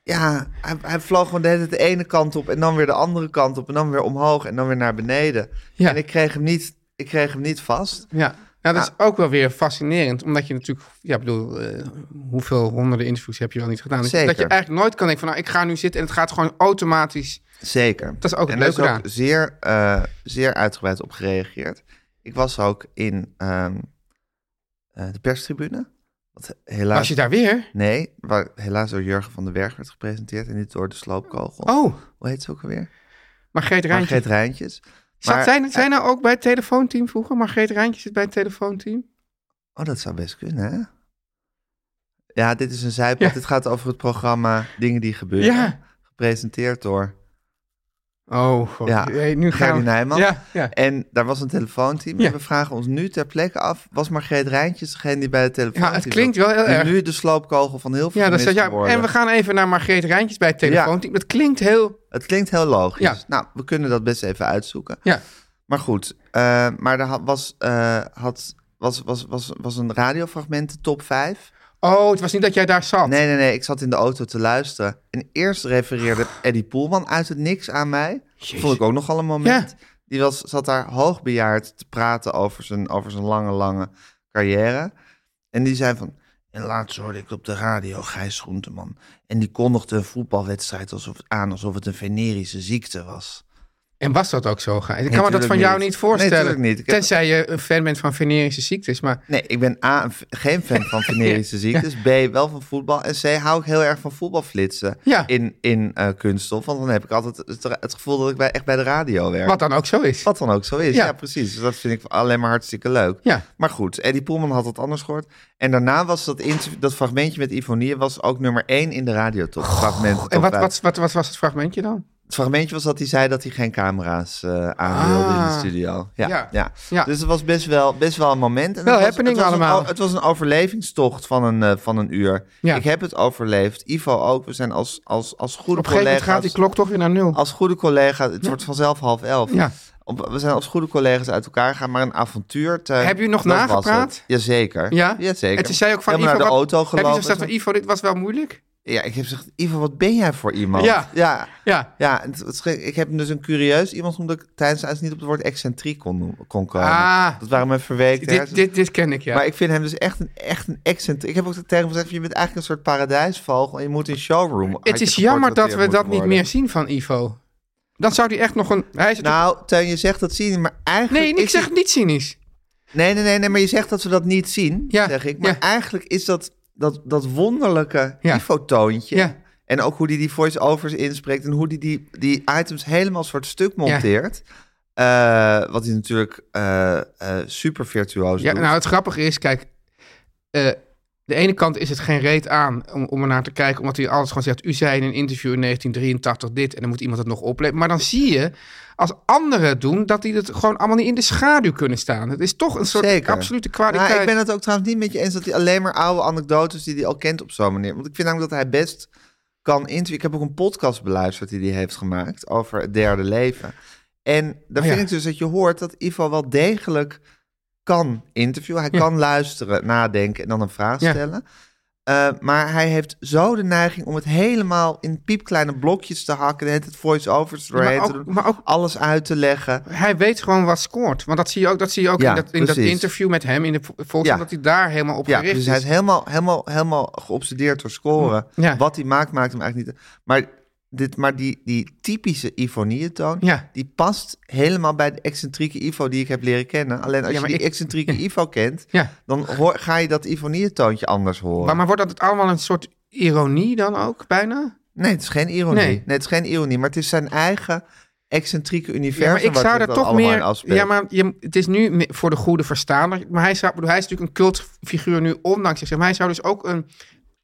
ja, hij, hij vloog gewoon de, hele tijd de ene kant op en dan weer de andere kant op en dan weer omhoog en dan weer naar beneden.
Ja.
En ik kreeg hem niet, ik kreeg hem niet vast.
Ja, nou, dat is ook wel weer fascinerend. Omdat je natuurlijk, ja, ik bedoel, eh, hoeveel honderden interviews heb je wel niet gedaan? Dus
Zeker.
Dat je eigenlijk nooit kan denken van, nou, ik ga nu zitten en het gaat gewoon automatisch.
Zeker.
Dat is ook
en
het
daar
leuke
is ook
eraan.
zeer, eh, zeer uitgebreid op gereageerd. Ik was ook in ehm, eh, de perstribune. Wat helaas,
Was je daar weer?
Nee, waar helaas door Jurgen van den Berg werd gepresenteerd en niet door de sloopkogel.
Oh,
Hoe heet ze ook alweer?
Margreet Rijntjes.
Margreet Rijntjes.
Zat
Maar-
zij, zij nou ook bij het telefoonteam vroeger? Margreet Rijntjes zit bij het telefoonteam?
Oh, dat zou best kunnen, hè? Ja, dit is een zijpad.
Ja.
Dit gaat over het programma Dingen die gebeuren.
Ja.
Gepresenteerd door...
Oh, god.
Ja,
Hey, nu gaan
Gerdy
we...
Nijman.
Ja, ja.
En daar was een telefoonteam.
Ja.
En we vragen ons nu ter plekke af... was Margreet Rijntjes degene die bij de telefoon
Ja, het klinkt wel heel erg.
nu de sloopkogel van heel veel
Ja, dat is, ja,
geworden.
en we gaan even naar Margreet Rijntjes bij het telefoonteam. Dat klinkt heel...
Het klinkt heel logisch.
Ja.
Nou, we kunnen dat best even uitzoeken.
Ja,
Maar goed, eh, maar er had- was, eh, had, was, was, was, was een radiofragment de top 5...
Oh, het was niet dat jij daar zat.
Nee, nee, nee. Ik zat in de auto te luisteren. En eerst refereerde Eddie Poelman uit het niks aan mij. Vond ik ook nogal een moment. Die was, zat daar hoogbejaard te praten over zijn, over zijn lange, lange carrière. En die zei van... En laatst hoorde ik op de radio Gijs Groenteman. En die kondigde een voetbalwedstrijd alsof, aan alsof het een venerische ziekte was.
En was dat ook zo? Gijs? Ik kan me dat
tuurlijk
van jou
niet.
niet voorstellen.
Nee, tuurlijk niet. Ik heb-
Tenzij je een fan bent van venerische ziektes. Maar
Nee, ik ben A, een f- geen fan
[LAUGHS]
van venerische ziektes. B, wel van voetbal. En C, hou ik heel erg van voetbalflitsen
Ja.
in, in eh, kunststof. Want dan heb ik altijd het, het gevoel dat ik bij, echt bij de radio werk.
wat dan ook zo is.
Wat dan ook zo is.
Ja.
Ja, precies. Dus dat vind ik alleen maar hartstikke leuk.
Ja.
Maar goed, Eddie Poelman had dat anders gehoord. En daarna was dat, interv- dat fragmentje met Ivonie was ook nummer één in de radiotop. Fragment
en
top
wat,
vijf.
wat, wat, wat was het fragmentje dan?
Het fragmentje was dat hij zei dat hij geen camera's eh aan wilde in
Ah.
de studio. Ja,
Ja.
ja.
Ja.
Dus het was best wel, best wel een moment. En
Wel
het was-
happening
het was een
allemaal.
o- het was een overlevingstocht van een, eh, van een uur.
Ja.
Ik heb het overleefd. Ivo ook. We zijn als, als, als goede
Op een gegeven moment
collega's...
gaat die klok toch weer naar nul.
Als goede collega's... Het wordt vanzelf half elf.
Ja.
Op- we zijn als goede collega's uit elkaar gegaan, maar een avontuur. Te,
Heb je nog
dat was
nagepraat?
het. Jazeker.
ja?
Jazeker.
En toen zei je ook van
Helemaal
Ivo,
naar de
wat-
auto
Heb je
gelopen.
gezegd van Ivo, dit was wel moeilijk?
Ja, ik heb gezegd, Ivo, wat ben jij voor iemand?
Ja.
Ja.
Ja.
Ja, het- het schrik- ik heb dus een curieus iemand omdat ik tijdens de uitzending niet op het woord excentriek kon, noemen- kon komen.
Ah.
dat waren mijn verweekte
Dit,
hersens.
dit, dit ken ik, ja.
Maar ik vind hem dus echt een, echt een excentriek. Ik heb ook tegen hem gezegd, je bent eigenlijk een soort paradijsvogel en je moet in showroom. had
het
je
is jammer dat we
geportretteerd
dat
moeten
niet
worden.
meer zien van Ivo. Dan zou hij echt nog een... Hij is
Nou, Teun, je zegt dat Nou, zie je niet, maar eigenlijk
nee, ik
is
zeg
hij-
het niet cynisch.
Nee, nee, nee, nee, maar je zegt dat we dat niet zien,
Ja,
zeg ik. Maar
ja.
eigenlijk is dat dat, dat wonderlijke
Ja.
infotoontje.
Ja.
En ook hoe die die voice-overs inspreekt en hoe die die, die items helemaal zwart stuk monteert. Eh, wat hij natuurlijk eh, eh, super virtuoos
Ja,
doet.
nou, het grappige is, kijk, eh, de ene kant is het geen reet aan om, om er naar te kijken, omdat hij alles gewoon zegt, u zei in een interview in 1983 dit, en dan moet iemand het nog opleven. Maar dan zie je, als anderen het doen, dat die het gewoon allemaal niet in de schaduw kunnen staan. Het is toch een soort
Zeker.
absolute
Maar
kwaliteit.
Nou, ik ben het ook trouwens niet met je eens dat hij alleen maar oude anekdotes die hij al kent op zo'n manier. Want ik vind namelijk dat hij best kan interviewen. Ik heb ook een podcast beluisterd die hij heeft gemaakt over het derde leven. En daar
Oh ja.
vind ik dus dat je hoort dat Ivo wel degelijk kan interviewen. Hij
Ja.
kan luisteren, nadenken en dan een vraag
Ja.
stellen. Eh, maar hij heeft zo de neiging om het helemaal in piepkleine blokjes te hakken. En het voice-overs
Ja, maar
doorheen te
ook-
doen.
maar ook-
alles uit te leggen.
Hij weet gewoon wat scoort. Want dat zie je ook, dat zie je ook
Ja,
in, dat, in dat
precies.
interview met hem in de vo- Volkskrant,
Ja.
dat hij daar helemaal op
Ja,
gericht
dus hij
is.
is helemaal, helemaal, helemaal geobsedeerd door scoren.
Ja.
Wat hij maakt, maakt hem eigenlijk niet... Maar, dit, maar die, die typische Ivonieëntoon,
Ja.
die past helemaal bij de excentrieke Ivo die ik heb leren kennen. Alleen als
[LAUGHS] Ja,
je
maar
die
ik-
excentrieke Ivo kent,
Ja.
dan hoor, ga je dat Ivonieëntoontje anders horen.
Maar, maar wordt dat het allemaal een soort ironie dan ook, bijna?
Nee, het is geen ironie.
Nee.
Nee. het is geen ironie, maar het is zijn eigen excentrieke universum
Ja, maar ik
waar
zou
zich
daar
dat
toch
allemaal in
meer.
afspeelt.
Ja, maar je, het is nu me- voor de goede verstaander. Maar hij, zou, bedoel, hij is natuurlijk een cultfiguur nu, ondanks zichzelf. Maar hij zou dus ook een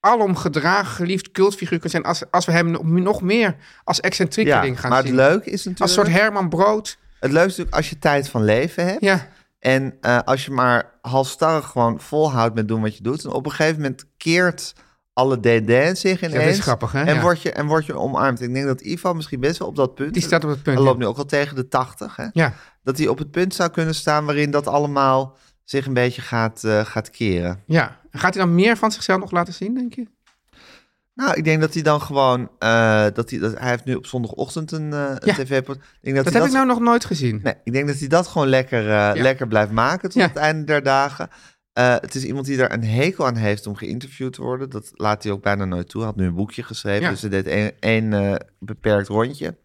alom gedragen, geliefd cultfiguur kunnen zijn. Als, als we hem nog- nog meer als excentrieke
Ja,
ding gaan
maar het
zien.
leuke is
als
natuurlijk...
soort Herman Brood.
Het leuke is natuurlijk als je tijd van leven hebt...
Ja,
En eh, als je maar halstarrig gewoon volhoudt met doen wat je doet, dan op een gegeven moment keert alle dédain zich ineens.
grappig, hè?
En,
Ja.
word je, en word je omarmd. Ik denk dat Ivan misschien best wel op dat punt...
Die staat op het punt,
Hij loopt
ja.
nu ook al tegen de 80, hè?
ja.
Dat hij op het punt zou kunnen staan waarin dat allemaal zich een beetje gaat, eh, gaat keren.
ja. Gaat hij dan meer van zichzelf nog laten zien, denk je?
Nou, ik denk dat hij dan gewoon... eh, dat hij, dat, hij heeft nu op zondagochtend een, eh, een
Ja.
tv-podcast.
Dat, heb ik nou nog nooit gezien.
Nee, ik denk dat hij dat gewoon lekker, eh, lekker blijft maken tot
Ja.
het einde der dagen. Eh, het is iemand die daar een hekel aan heeft om geïnterviewd te worden. Dat laat hij ook bijna nooit toe. Hij had nu een boekje geschreven,
Ja.
dus hij deed één- één eh, beperkt rondje.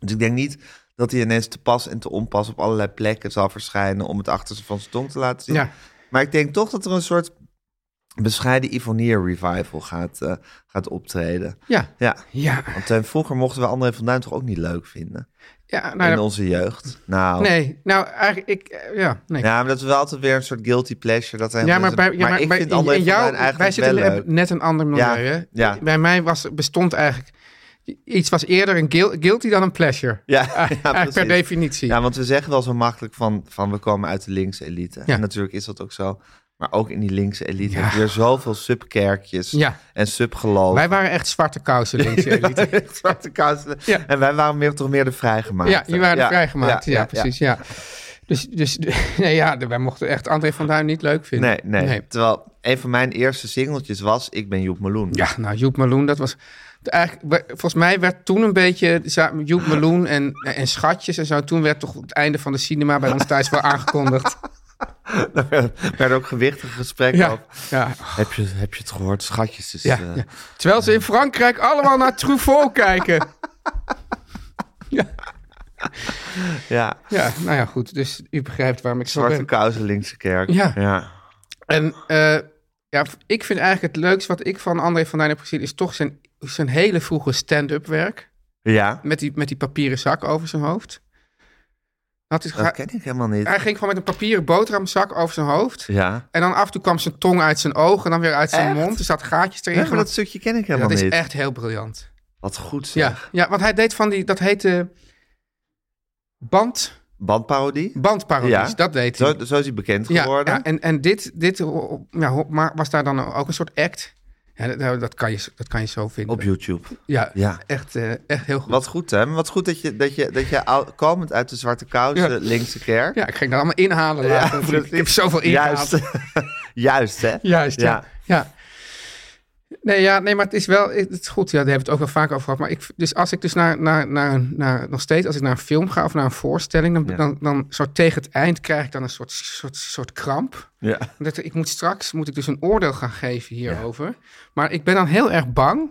Dus ik denk niet dat hij ineens te pas en te onpas op allerlei plekken zal verschijnen om het achter van zijn tong te laten zien.
Ja.
Maar ik denk toch dat er een soort bescheiden Ivonier revival gaat, eh, gaat optreden.
Ja.
Ja.
Ja.
Want eh, vroeger mochten we André van Duin toch ook niet leuk vinden?
ja nou,
In onze jeugd. Nou,
nee, nou eigenlijk, ik, eh, ja, nee.
Ja, maar dat is wel altijd weer een soort guilty pleasure. Dat zijn
Ja, maar, bij,
mensen-
ja, maar,
ik
bij-
vind
in-
André
in
van Duin eigenlijk
wij zitten
wel
in
leuk.
net een ander milieu.
Ja,
hè?
ja.
Bij mij was, bestond eigenlijk iets was eerder een guil- guilty dan een pleasure. [LAUGHS]
Ja, ja,
eigenlijk eh, per
precies.
definitie.
Ja, want we zeggen wel zo makkelijk van, van we komen uit de linkse elite.
Ja.
En natuurlijk is dat ook zo. Maar ook in die linkse elite
Ja.
heb je weer zoveel subkerkjes
Ja.
en subgeloven. [LAUGHS]
Wij waren echt zwarte kousen, links elite.
zwarte kousen.
Ja.
En wij waren meer, toch meer de vrijgemaakt.
Ja, die waren vrijgemaakt. Ja, precies. Ja. Dus, dus [LAUGHS] nee, ja, wij mochten echt André van Duin niet leuk vinden.
Nee, nee, Terwijl een van mijn eerste singeltjes was Ik ben Joep Meloen.
Ja, nou, Joep Meloen, dat was... Eigenlijk, we- volgens mij werd toen een beetje za- Joep Meloen en, en Schatjes en zo... Toen werd toch het einde van de cinema bij ons [LAUGHS] thuis wel aangekondigd.
[LAUGHS] Daar werden ook gewichtige gesprekken
Ja,
over.
ja.
Heb je, heb je het gehoord? Schatjes is...
Ja,
eh,
ja. Terwijl ze in Frankrijk allemaal naar [LAUGHS] Truffaut kijken. Ja,
ja.
ja, nou ja, goed. Dus u begrijpt waarom ik zo
Zwarte
ben.
kousen linkse kerk.
Ja.
ja.
En eh, ja, ik vind eigenlijk het leukste wat ik van André van Duin heb gezien... is toch zijn, zijn hele vroege stand-up werk.
Ja,
Met die, met die papieren zak over zijn hoofd. Had hij,
dat ken ik helemaal niet.
hij ging gewoon met een papieren boterhamzak over zijn hoofd.
Ja.
En dan af en toe kwam zijn tong uit zijn ogen en dan weer uit zijn
Echt?
mond. Er zaten gaatjes erin.
Nee, maar dat
gemaakt.
stukje ken ik
Ja,
helemaal
dat is
niet.
echt heel briljant.
Wat goed
Ja,
zeg.
ja, want hij deed van die, dat heette band,
Bandparodie?
bandparodies,
Ja.
dat deed hij.
Zo, zo is hij bekend
ja,
geworden.
ja, en, en dit, dit ja, ho- maar was daar dan ook een soort act? Ja, dat, nou, dat, kan, je, dat kan je zo vinden.
Op YouTube.
Ja,
Ja.
Echt, eh, echt heel goed.
Wat goed hè? Maar Wat goed dat je, dat je, dat je al- komend uit de zwarte kousen
Ja.
linkse kerk.
Ja, ik ging dat allemaal inhalen later. natuurlijk. ik heb zoveel ingehaald.
Juist. [LAUGHS] Juist hè?
Juist, ja.
Ja.
ja. Nee, ja, nee, maar het is wel, het is goed, ja, daar hebben we het ook wel vaak over gehad. Maar ik, dus als ik dus naar, naar, naar, naar, nog steeds, als ik naar een film ga of naar een voorstelling, dan,
Ja.
dan, dan zo tegen het eind krijg ik dan een soort, soort, soort kramp.
Ja.
Dat ik moet straks, moet ik dus een oordeel gaan geven hierover. Maar ik ben dan heel erg bang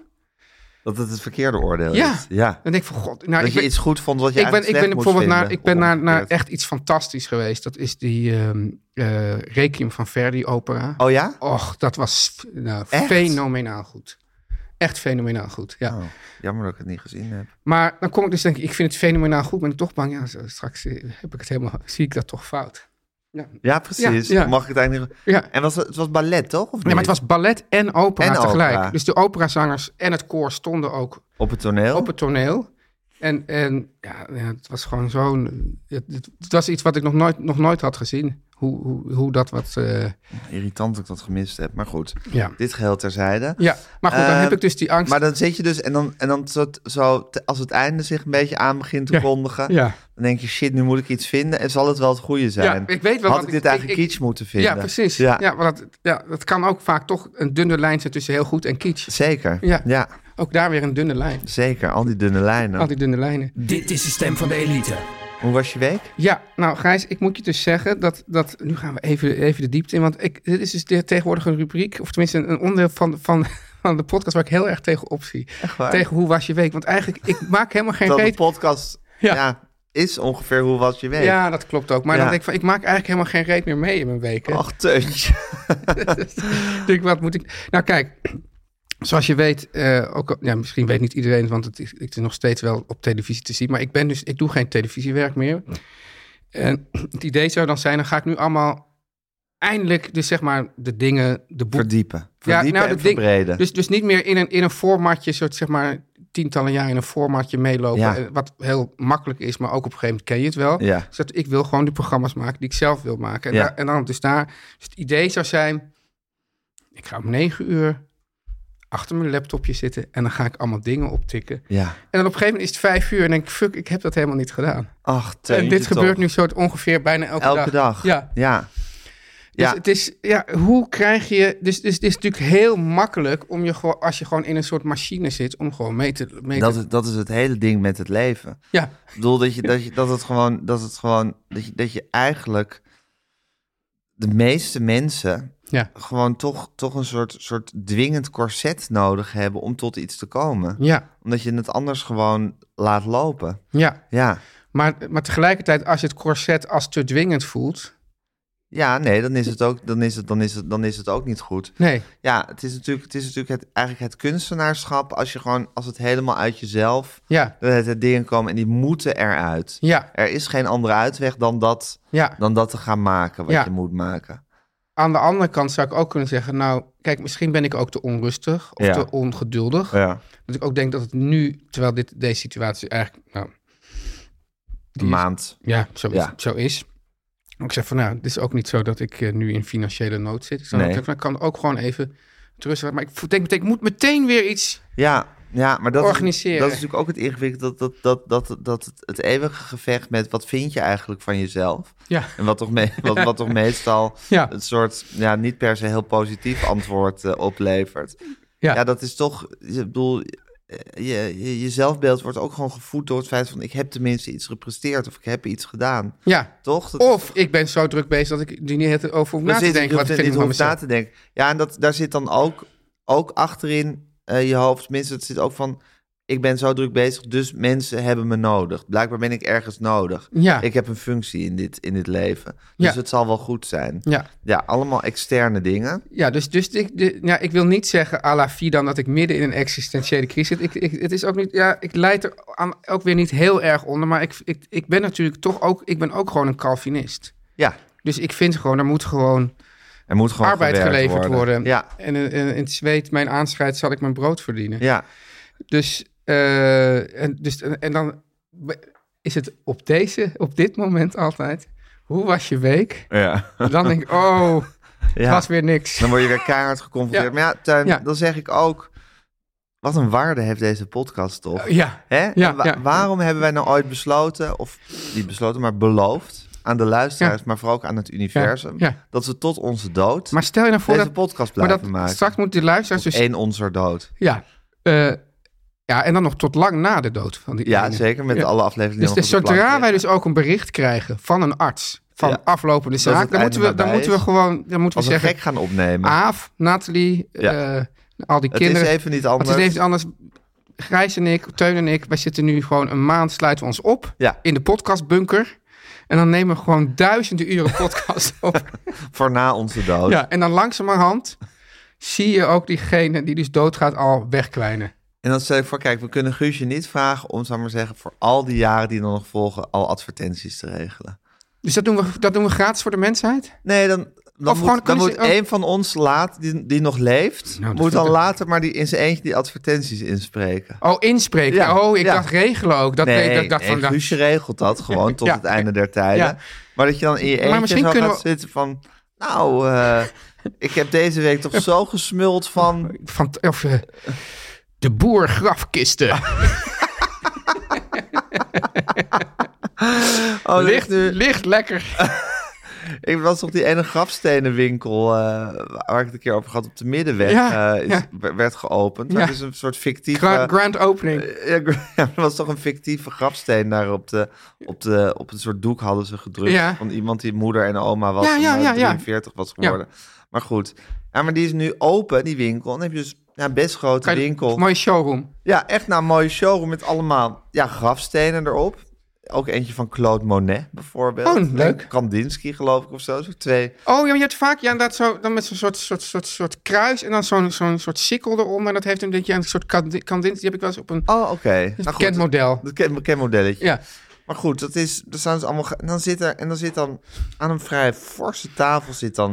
Dat het het verkeerde oordeel
Ja.
is. Ja.
Dan denk ik van god. Nou,
dat
ik
je
ben,
iets goed vond wat je
ik ben, ik
eigenlijk
ben
slecht moest
bijvoorbeeld naar,
vinden,
ik ben naar, naar
omgekeerd.
echt iets fantastisch geweest. Dat is die ehm eh, Requiem van Verdi opera.
Oh ja?
Och, dat was f- nou,
Echt?
fenomenaal goed. Echt fenomenaal goed, ja.
Oh, jammer dat ik het niet gezien heb.
Maar dan kom ik dus denk ik, ik vind het fenomenaal goed, ben ik toch bang. Ja, zo, straks eh, heb ik het helemaal, [LAUGHS] zie ik dat toch fout. Ja,
Ja, precies.
Ja, ja.
Mag ik het eigenlijk niet...
ja.
En was, het het was ballet, toch? Of
Ja, maar het was ballet en opera
En
tegelijk.
opera.
Dus de operazangers en het koor stonden ook
Op het toneel?
op het toneel. En, en ja, ja, het was gewoon zo'n... Het, het- het was iets wat ik nog nooit, nog nooit had gezien. Hoe, hoe, hoe dat wat... eh,
Irritant dat ik dat gemist heb, maar goed.
ja.
Dit geheel terzijde.
ja, maar goed, dan
Eh,
heb ik dus die angst.
Maar dan zit je dus, en dan, en dan zo, zo, te- als het einde zich een beetje aan begint te
Ja.
kondigen,
ja.
dan denk je, shit, nu moet ik iets vinden en zal het wel het goede zijn?
ik weet wel
Had
wat
ik
ik-
dit eigenlijk
ik- ik-
kitsch moeten vinden?
Ja, precies.
Ja,
Ja. want dat, ja, dat kan ook vaak toch een dunne lijn zijn tussen heel goed en kitsch.
zeker. Ja.
Ja. Ook daar weer een dunne lijn.
zeker. Al die dunne lijnen.
Al die dunne lijnen.
Dit is de stem van de elite.
Hoe was je week?
Ja, nou Gijs, ik moet je dus zeggen dat... dat nu gaan we even, even de diepte in. Want ik, dit is dus de, tegenwoordig een rubriek, of tenminste een, een onderdeel van, van, van de podcast... waar ik heel erg tegen opzie.
Echt waar?
Tegen hoe was je week? Want eigenlijk, ik maak helemaal geen
Dat de
reet...
podcast ja.
Ja.
is ongeveer hoe was je week?
Ja, dat klopt ook. Maar
Ja. Oh.
dan denk ik van, ik maak eigenlijk helemaal geen reet meer mee in mijn weken.
Ach, teuntje.
Ik denk, wat moet ik... Nou, kijk. Zoals je weet, eh, ook, al- ja, misschien weet niet iedereen, want het is, het is nog steeds wel op televisie te zien. Maar ik, ben dus, ik doe geen televisiewerk meer. En het idee zou dan zijn, dan ga ik nu allemaal eindelijk, dus zeg maar, de dingen, de boeken.
Verdiepen. Verdiepen en
nou, dat ding-
verbreden.
Dus, dus niet meer in een, in een formatje, soort zeg maar tientallen jaar in een formatje meelopen.
Ja.
eh, Wat heel makkelijk is, maar ook op een gegeven moment ken je het wel.
Ja.
Dus dat, ik wil gewoon die programma's maken die ik zelf wil maken. En,
Ja.
daar- en dan dus daar. Dus het idee zou zijn, ik ga om negen uur achter mijn laptopje zitten en dan ga ik allemaal dingen optikken.
Ja.
En dan op een gegeven moment is het vijf uur en denk ik, fuck, ik heb dat helemaal niet gedaan.
Ach,
en dit
teuntje toch.
gebeurt nu soort ongeveer bijna elke,
elke dag.
Ja.
Ja.
Dus
Ja.
het is, ja, hoe krijg je. Dus, dus het is natuurlijk heel makkelijk om je gewoon, als je gewoon in een soort machine zit, om gewoon mee te. Mee
Dat
te
is, dat is het hele ding met het leven.
ja,
Ik bedoel dat je dat je dat het gewoon dat het gewoon dat je dat je eigenlijk de meeste mensen
ja,
gewoon toch, toch een soort, soort dwingend corset nodig hebben om tot iets te komen.
ja,
Omdat je het anders gewoon laat lopen.
ja.
Ja.
Maar, maar tegelijkertijd, als je het corset als te dwingend voelt.
Ja, nee, dan is het ook, dan is het, dan is het, dan is het ook niet goed.
Nee,
Ja, het is natuurlijk, het is natuurlijk het, eigenlijk het kunstenaarschap als je gewoon, als het helemaal uit jezelf,
ja,
dat het, het dingen komen en die moeten eruit.
ja,
Er is geen andere uitweg dan dat,
ja.
dan dat te gaan maken wat
Ja.
je moet maken.
Aan de andere kant zou ik ook kunnen zeggen, nou, kijk, misschien ben ik ook te onrustig of
Ja.
te ongeduldig.
Ja.
Dat ik ook denk dat het nu, terwijl dit, deze situatie eigenlijk, nou,
Een maand.
Ja, zo is.
Ja.
Zo is. Ik zeg van, nou, het is ook niet zo dat ik eh, nu in financiële nood zit. Ik zou
Nee.
zeggen, van, ik kan ook gewoon even het rustig Maar ik vo- denk meteen, ik moet meteen weer iets.
Ja, ja maar dat,
Organiseren.
Is, dat is natuurlijk ook het ingewikkelde. Dat, dat, dat, dat, dat het, het eeuwige gevecht met wat vind je eigenlijk van jezelf.
Ja.
En wat toch, me,
[LAUGHS]
wat, wat toch meestal
Ja.
een soort ja, niet per se heel positief antwoord eh, oplevert.
Ja.
dat is toch. Ik bedoel, eh, je, je, je zelfbeeld wordt ook gewoon gevoed door het feit van ik heb tenminste iets gepresteerd of ik heb iets gedaan.
Ja.
Toch? Dat-
Of ik ben zo druk bezig dat ik er niet het over hoef na te
Precies,
denken. Wat
je hoeft
vind ik
niet
van
hoeft na
mezelf.
te denken. Ja, en dat, daar zit dan ook, ook achterin eh, je hoofd. Tenminste, het zit ook van... Ik ben zo druk bezig, dus mensen hebben me nodig. Blijkbaar ben ik ergens nodig.
Ja.
Ik heb een functie in dit, in dit leven. Dus
Ja.
het zal wel goed zijn.
Ja.
Ja, allemaal externe dingen.
Ja, dus, dus ik, de- ja, ik wil niet zeggen à la dan dat ik midden in een existentiële crisis zit. Ik, ik, het is ook niet, ja, ik leid er aan, ook weer niet heel erg onder. Maar ik, ik, ik ben natuurlijk toch ook, ik ben ook gewoon een Calvinist.
Ja,
Dus ik vind gewoon, er moet gewoon
er moet gewoon
arbeid
gewerkt
geleverd worden.
Ja,
En eh, eh, in het zweet, mijn aanschijt, zal ik mijn brood verdienen.
ja.
Dus, eh, en, dus en, en dan be- is het op deze, op dit moment altijd. Hoe was je
[LAUGHS]
week?
Ja.
Dan denk ik, oh, het
ja.
was weer niks.
Dan word je weer keihard geconfronteerd.
Ja.
Maar ja, Tuin,
Ja.
dan zeg ik ook... Wat een waarde heeft deze podcast toch?
[LAUGHS] Ja,
Hè?
Ja,
En wa-
ja.
Waarom hebben wij nou ooit besloten, of niet besloten, maar beloofd aan de luisteraars, maar vooral ook aan het universum,
Ja, ja.
dat ze tot onze dood
maar stel je nou voor
deze
dat,
podcast
maar
blijven
dat
maken.
straks moet de luisteraars dus...
Eén onzer dood.
Ja, eh, ja, en dan nog tot lang na de dood van die
Ja,
ene.
zeker, met
Ja.
alle afleveringen.
Dus
nog
de-
op de plank
zodra wij
liggen.
dus ook een bericht krijgen van een arts, van
Ja.
aflopende
het
zaak,
einde
dan moeten, we, dan
nabij
moeten we
is.
gewoon dan moeten
Als
we
we
zeggen...
gek gaan opnemen.
Aaf, Nathalie,
Ja.
eh, al die
het
kinderen.
is even niet
Want
anders.
het is even anders. Grijs en ik, Teun en ik, wij zitten nu gewoon een maand, sluiten we ons op
Ja.
in de podcastbunker. En dan nemen we gewoon duizenden
[LAUGHS]
uren podcast op.
Voor na onze dood.
Ja, en dan langzamerhand zie je ook diegene die dus doodgaat al wegkwijnen.
En dan stel ik voor, kijk, we kunnen Guusje niet vragen om, zal ik maar zeggen, voor al die jaren die dan nog volgen, al advertenties te regelen.
Dus dat doen we, dat doen we gratis voor de mensheid?
Nee, dan, dan
Of gewoon
moet, dan
kunnen
moet
ze ook-
een van ons laat, die, die nog leeft,
Nou, dat
moet
vind
dan
ik-
later maar die, in zijn eentje die advertenties inspreken.
Oh, inspreken.
Ja,
oh, ik
ja.
dacht regelen ook. Dat,
nee,
ik dat, ik dacht
nee,
van, dat-
Guusje regelt dat
[LAUGHS]
gewoon tot
Ja.
het einde der tijden.
Ja.
Maar dat je dan in je
Maar
eentje
misschien
zo
kunnen
gaat
we-
zitten van... Nou, eh, ik heb deze week toch zo gesmuld
[LAUGHS]
van...
van of, eh, de boer
[LAUGHS]
grafkisten.
Oh, er ligt
ligt,
nu,
ligt
[LAUGHS]
lekker.
ik was op die ene grafstenenwinkel eh, waar ik het een keer over gehad op de Middenweg
Ja,
eh, is,
ja.
w- werd geopend. Dat
Ja.
is een soort fictieve...
Grand, grand opening.
eh, Ja, gr- [LAUGHS] ja, er was toch een fictieve grafsteen daar op, de, op, de, op een soort doek hadden ze gedrukt.
Ja.
Van iemand die moeder en oma was
Ja,
en
ja,
eh,
ja, ja.
43 was geworden. Maar goed. Ja, maar die is nu open, die winkel. En dan heb je dus ja, best grote
Kan je-
winkel.
Mooie showroom.
Ja, echt nou een mooie showroom met allemaal ja, grafstenen erop. Ook eentje van Claude Monet bijvoorbeeld.
Oh, leuk.
En Kandinsky geloof ik of zo. Zo twee.
Oh, ja, maar je hebt vaak ja, inderdaad zo, dan met zo'n soort, soort, soort, soort kruis en dan zo'n zo'n soort sikkel eronder. En dat heeft een, beetje een soort kandin, kandin- die heb ik wel eens op een
Oh, oké. Nou goed,
bekend model.
Dat ken, bekend modelletje.
Ja.
Maar goed, dat is, dat staan ze allemaal. ge- En dan zit er, en dan zit dan aan een vrij forse tafel zit dan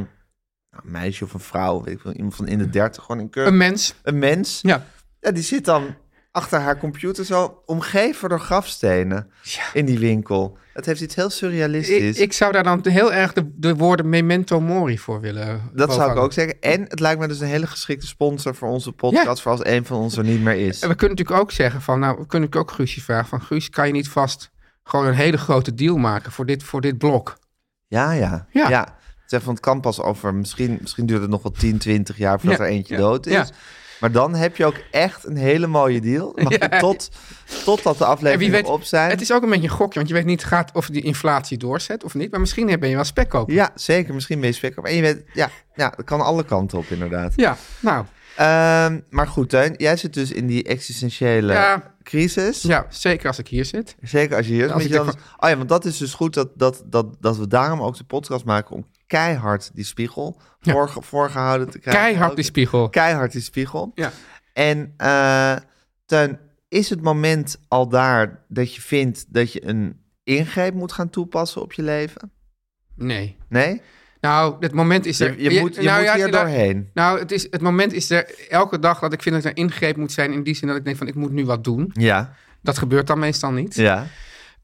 nou, een meisje of een vrouw, weet ik wel, iemand van in de dertig, gewoon in keur.
Een mens.
Een mens.
Ja.
Ja, die zit dan achter haar computer zo omgeven door grafstenen in die winkel. Dat heeft iets heel
Ik,
surrealistisch.
ik zou daar dan heel erg de, de woorden memento mori voor willen. eh,
dat zou ik
bovenhangen.
ook zeggen. En het lijkt me dus een hele geschikte sponsor voor onze podcast,
Ja.
voor als een van ons er niet meer is.
[LAUGHS] En we kunnen natuurlijk ook zeggen van, nou, we kunnen natuurlijk ook Guusje vragen van, Guus, kan je niet vast gewoon een hele grote deal maken voor dit, voor dit blok?
Ja, ja. ja.
Ja.
Zeg van het kan pas over, misschien, misschien duurt het nog wel 10, 20 jaar voordat
Ja,
er eentje
ja,
dood is.
ja.
Maar dan heb je ook echt een hele mooie
[LAUGHS]
deal. Mag je tot, totdat de
En wie
afleveringen
weet,
op zijn.
het is ook een beetje een gokje, want je weet niet gaat of die inflatie doorzet of niet, maar misschien ben je wel spekkoper.
Ja, zeker. Misschien ben je spek op. En je weet, ja, ja, dat kan alle kanten op inderdaad.
Ja, nou,
Ehm, maar goed, Teun, jij zit dus in die existentiële
Ja.
crisis.
ja, zeker als ik hier zit.
Zeker als je hier...
Als
want
ik
je
denk
dan- Oh ja, want dat is dus goed dat, dat, dat, dat we daarom ook de podcast maken... om keihard die spiegel voorge- voorgehouden te krijgen.
Keihard
Ook-
die spiegel.
keihard die spiegel.
Ja.
En eh Teun, is het moment al daar dat je vindt dat je een ingreep moet gaan toepassen op je leven?
Nee.
Nee?
Nou, het moment is er...
Je, je moet, je
nou
moet
ja,
hier
nou,
doorheen.
Nou, het, is, het moment is er elke dag dat ik vind dat ik er ingreep moet zijn in die zin dat ik denk van, ik moet nu wat doen.
Ja,
Dat gebeurt dan meestal niet.
ja.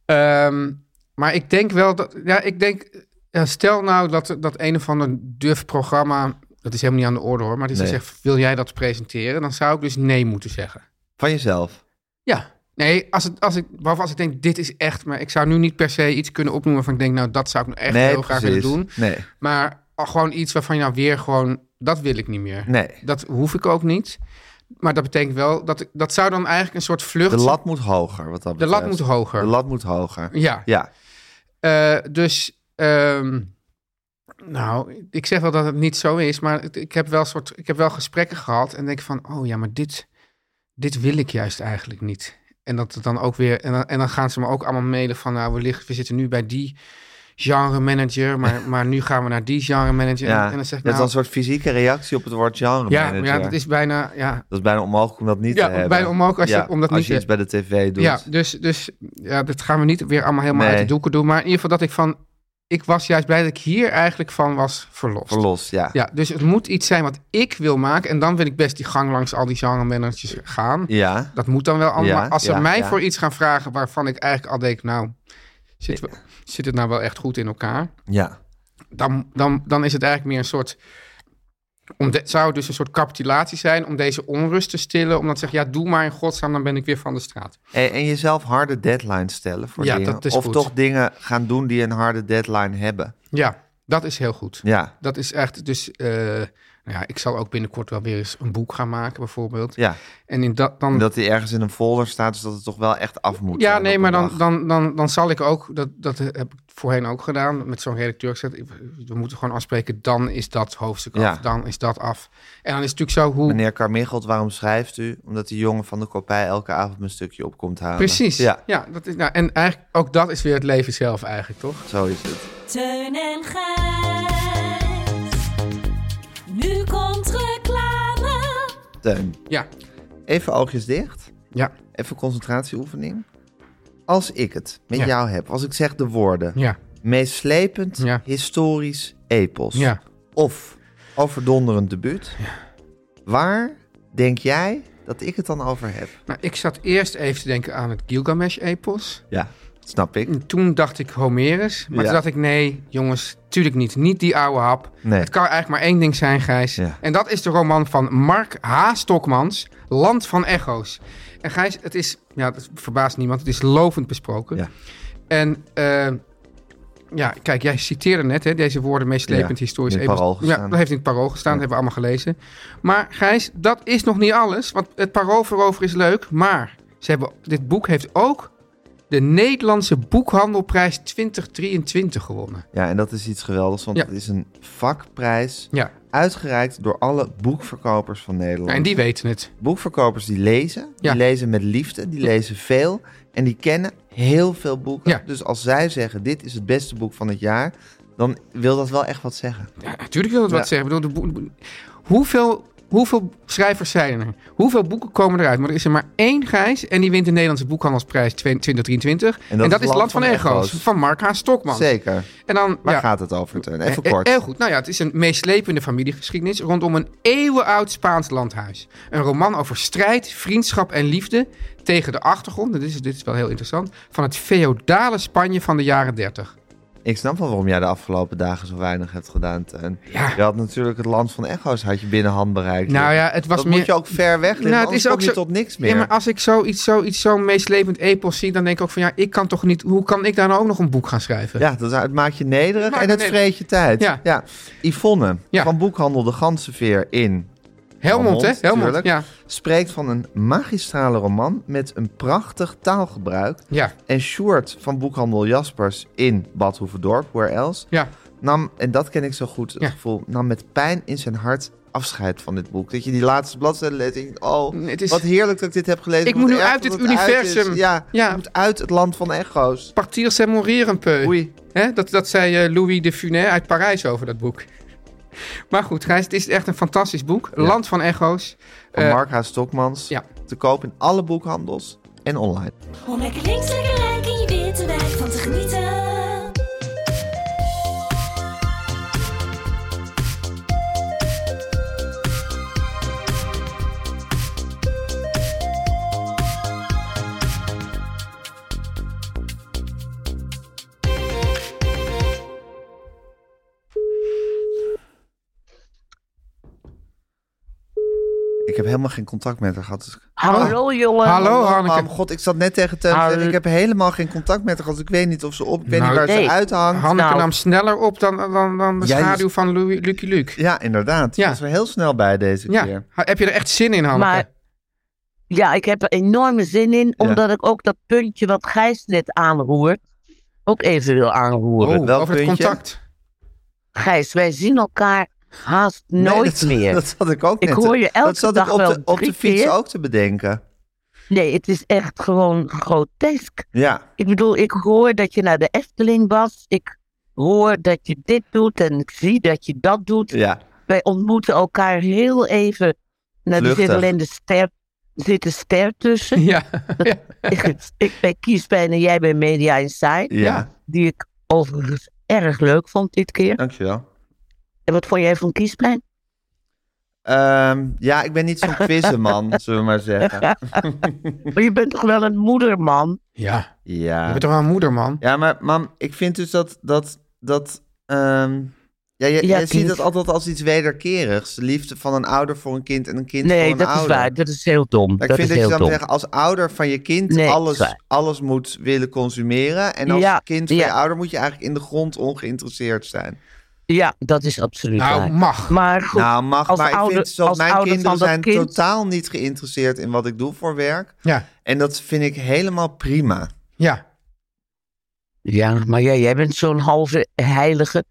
Ehm, maar ik denk wel dat. Ja, ik denk. ja, stel nou dat, dat een of ander duf programma. Dat is helemaal niet aan de orde hoor. Maar die
Nee.
zegt: Wil jij dat presenteren? Dan zou ik dus nee moeten zeggen.
Van jezelf.
Ja. Nee, als, het, als ik. Behalve als ik denk: Dit is echt. Maar ik zou nu niet per se iets kunnen opnoemen. van ik denk: Nou, dat zou ik nou echt
nee,
heel graag willen
precies.
doen.
Nee,
Maar al gewoon iets waarvan je nou weer gewoon. Dat wil ik niet meer.
nee.
Dat hoef ik ook niet. Maar dat betekent wel dat ik. Dat zou dan eigenlijk een soort vlucht.
De lat moet hoger, wat dat
De lat
betreft.
moet hoger.
De lat moet hoger.
Ja.
Ja,
Eh, dus, ehm, nou, ik zeg wel dat het niet zo is, maar het- ik heb wel, soort, ik heb wel gesprekken gehad en denk van, oh ja, maar dit, dit wil ik juist eigenlijk niet. En dat het dan ook weer, en dan, en dan gaan ze me ook allemaal mailen van, nou, we, liggen, we zitten nu bij die genre
[LAUGHS]
manager, maar, maar nu gaan we naar die genre manager.
ja.
En, dan zeg ik,
dat is dan
nou,
een soort fysieke reactie op het woord genre
ja, maar
manager.
ja, dat is bijna, ja.
Dat is bijna onmogelijk om dat niet
Ja,
te hebben.
bijna onmogelijk als je- om dat
als
niet
je
te-
iets bij de tv doet.
Ja, dus, dus ja, dat gaan we niet weer allemaal helemaal
Nee.
uit de doeken doen, maar in ieder geval dat ik van, ik was juist blij dat ik hier eigenlijk van was verlost.
Verlost,
Ja, dus het moet iets zijn wat ik wil maken. En dan wil ik best die gang langs al die genremanagers gaan.
Ja.
Dat moet dan wel allemaal.
Ja,
Als ze
ja,
mij
ja.
voor iets gaan vragen waarvan ik eigenlijk al denk, nou, zit, we- zit het nou wel echt goed in elkaar?
Ja.
Dan, dan, dan is het eigenlijk meer een soort. Om de- zou het dus een soort capitulatie zijn om deze onrust te stillen. Om dan te zeggen, ja, doe maar in godsnaam, dan ben ik weer van de straat.
En, en jezelf harde deadlines stellen voor
Ja,
dingen.
dat is
of
goed.
toch dingen gaan doen die een harde deadline hebben.
Ja, dat is heel goed.
Ja.
Dat is echt dus eh, Nou ja, ik zal ook binnenkort wel weer eens een boek gaan maken, bijvoorbeeld.
Ja,
En in dat dan.
en dat die ergens in een folder staat, dus dat het toch wel echt af moet.
Hm. ja,
zijn op
nee,
een
maar dan,
dag.
dan, dan, dan zal ik ook, dat, dat heb ik voorheen ook gedaan, met zo'n redacteur gezegd, ik- we moeten gewoon afspreken, dan is dat hoofdstuk
Ja.
af, dan is dat af. En dan is het natuurlijk zo hoe...
Meneer Carmichelt, waarom schrijft u? Omdat die jongen van de kopij elke avond een stukje op komt halen.
Precies. Ja.
Ja,
dat is, nou, en eigenlijk ook dat is weer het leven zelf eigenlijk, toch?
zo is het.
Teun en Gijs. Nu komt reclame.
Teun,
Ja.
even oogjes dicht.
Ja.
Even concentratieoefening. Als ik het met
Ja.
jou heb, als ik zeg de woorden...
Ja.
meeslepend
Ja.
historisch epos...
Ja.
of overdonderend debuut... waar denk jij dat ik het dan over heb?
Nou, ik zat eerst even te denken aan het Gilgamesh-epos.
Ja, snap ik.
En Toen dacht ik Homerus. Maar
Ja.
toen dacht ik, nee, jongens, tuurlijk niet. Niet die oude hap.
Nee.
Het kan eigenlijk maar één ding zijn, Gijs.
Ja.
En dat is de roman van Mark H. Stokmans, Land van Echo's. En Gijs, het is, ja, dat verbaast niemand, het is lovend besproken.
Ja.
En eh, ja, kijk, jij citeerde net hè, deze woorden meeslepend
Ja,
historisch.
in het
epos.
Parool gestaan.
Ja, dat heeft in het parool gestaan, dat hebben we allemaal gelezen. Maar Gijs, dat is nog niet alles, want het parool voorover is leuk, maar ze hebben, dit boek heeft ook de Nederlandse Boekhandelprijs 2023 gewonnen.
Ja, en dat is iets geweldigs, want
Ja.
het is een vakprijs...
Ja,
uitgereikt door alle boekverkopers van Nederland.
en die weten het.
boekverkopers die lezen,
Ja.
die lezen met liefde, die lezen veel en die kennen heel veel boeken.
Ja.
Dus als zij zeggen dit is het beste boek van het jaar, dan wil dat wel echt wat zeggen.
Ja, natuurlijk wil dat wat
Ja.
zeggen. Ik bedoel, de boe- hoeveel, hoeveel schrijvers zijn er? Hoeveel boeken komen eruit? Maar er is er maar één Gijs en die wint de Nederlandse Boekhandelsprijs 2023. En dat, is Land van, Echo's van Mark H. Stokman.
Zeker.
En dan,
Waar
ja,
gaat het over, Teun? Even
Eh, eh,
kort.
Heel goed. Nou ja, het is een meeslepende familiegeschiedenis rondom een eeuwenoud Spaans landhuis. Een roman over strijd, vriendschap en liefde tegen de achtergrond, en dit is, dit is wel heel interessant, van het feodale Spanje van de jaren 30.
Ik snap wel waarom jij de afgelopen dagen zo weinig hebt gedaan, Teun.
Ja.
Je had natuurlijk het land van Echo's had je binnen hand bereikt.
Nou ja, het was
dat
meer...
moet je ook ver weg liggen,
Nou,
anders kom je tot niks meer.
Ja, maar als ik zoiets, zoiets zo'n meeslepend epos zie, dan denk ik ook van ja, ik kan toch niet... Hoe kan ik daar nou ook nog een boek gaan schrijven?
Ja, dat, het maakt je nederig
Maakt
en
me
het
nederig.
vreet je tijd.
Ja.
Yvonne
Ja.
van Boekhandel De Ganseveer in
Helmond, hè?
Helmond,
Helmond,
tuurlijk.
ja.
spreekt van een magistrale roman met een prachtig taalgebruik.
Ja,
En Sjoerd van Boekhandel Jaspers in Bad Hoeverdorp, Where Else,
ja.
nam, en dat ken ik zo goed, het
Ja.
gevoel, nam met pijn in zijn hart afscheid van dit boek. Dat je die laatste bladzijde leest en je denkt, oh,
Nee, Mm, het is-
wat heerlijk dat ik dit heb gelezen.
Ik
Wat
moet nu
erg
uit
dat
dit
het uit is.
universum.
ja,
Ja.
ik moet uit het land van echo's.
Partir c'est mourir un peu.
Oei.
Hè? Dat, dat zei eh, Louis de Funès uit Parijs over dat boek. Maar goed, Gijs, het is echt een fantastisch boek. Land van echo's.
Van
Eh,
Mark H. Stokmans.
ja.
Te koop in alle boekhandels en online.
Om lekker links, lekker rijk in je witte wijk van te genieten.
Ik heb helemaal geen contact met haar gehad. Dus...
Hallo jongen.
Hallo, Hanneke.
Mam, god, ik zat net tegen Teun te
Ah,
zeggen, ik heb helemaal geen contact met haar gehad. dus Ik weet niet of ze op, ik weet
Nou,
niet waar
nee.
ze uithangt.
Hanneke
Nou.
nam sneller op dan, dan, dan de
Jij-
schaduw van Louis, Lucky Luke.
Ja, inderdaad.
Ja.
Ja. was er heel snel bij deze
Ja.
keer.
Ha- Heb je er echt zin in, Hanneke?
Maar ja, ik heb er enorme zin in, omdat ik ook dat puntje wat Gijs net aanroert, ook even wil aanroeren.
Oh,
welk
over het
puntje? [LAUGHS]
contact.
Gijs, wij zien elkaar haast
Nee,
nooit
dat-
meer.
Dat zat ik ook
Ik
net.
hoor je elke
dat zat
dag
ik op
wel
de, op
drie
de fiets
keer.
ook te bedenken.
Nee, het is echt gewoon grotesk.
Ja,
Ik bedoel, ik hoor dat je naar de Efteling was. Ik hoor dat je dit doet en ik zie dat je dat doet.
ja.
Wij ontmoeten elkaar heel even. Nou, er zit
Vluchtig.
alleen de ster, er zit een ster tussen.
Ja.
ik, ik ben kiespijn en jij bent Media Insight.
Ja.
Die ik overigens erg leuk vond dit keer.
Dankjewel.
En wat vond jij van kiespijn?
Ehm, ja, ik ben niet
[LAUGHS]
zo'n quizzen man, zullen we maar zeggen.
Maar je bent toch wel een moederman?
ja. Je
Ja,
bent toch wel een moeder, man?
ja maar mam, ik vind dus dat... dat, dat ehm, ja, jij,
Ja,
jij ziet
kind.
dat altijd als iets wederkerigs. De liefde van een ouder voor een kind en een kind voor
Nee,
een
dat
ouder.
is waar. Dat is heel dom.
Maar
dat
ik vind
is
dat je
heel
dan
dom.
zeggen, als ouder van je kind
Nee,
alles,
zwaar.
alles moet willen consumeren. En als
Ja,
kind van
ja.
je ouder moet je eigenlijk in de grond ongeïnteresseerd zijn.
Ja, dat is absoluut
Nou,
waar.
mag.
Maar goed,
Nou, mag,
als
maar ik
ouder-
vind zoals
als
mijn
ouder
kinderen
van
zijn
dat kind-
totaal niet geïnteresseerd in wat ik doe voor werk.
Ja,
En dat vind ik helemaal prima.
ja.
ja, maar ja, jij bent zo'n halve heilige.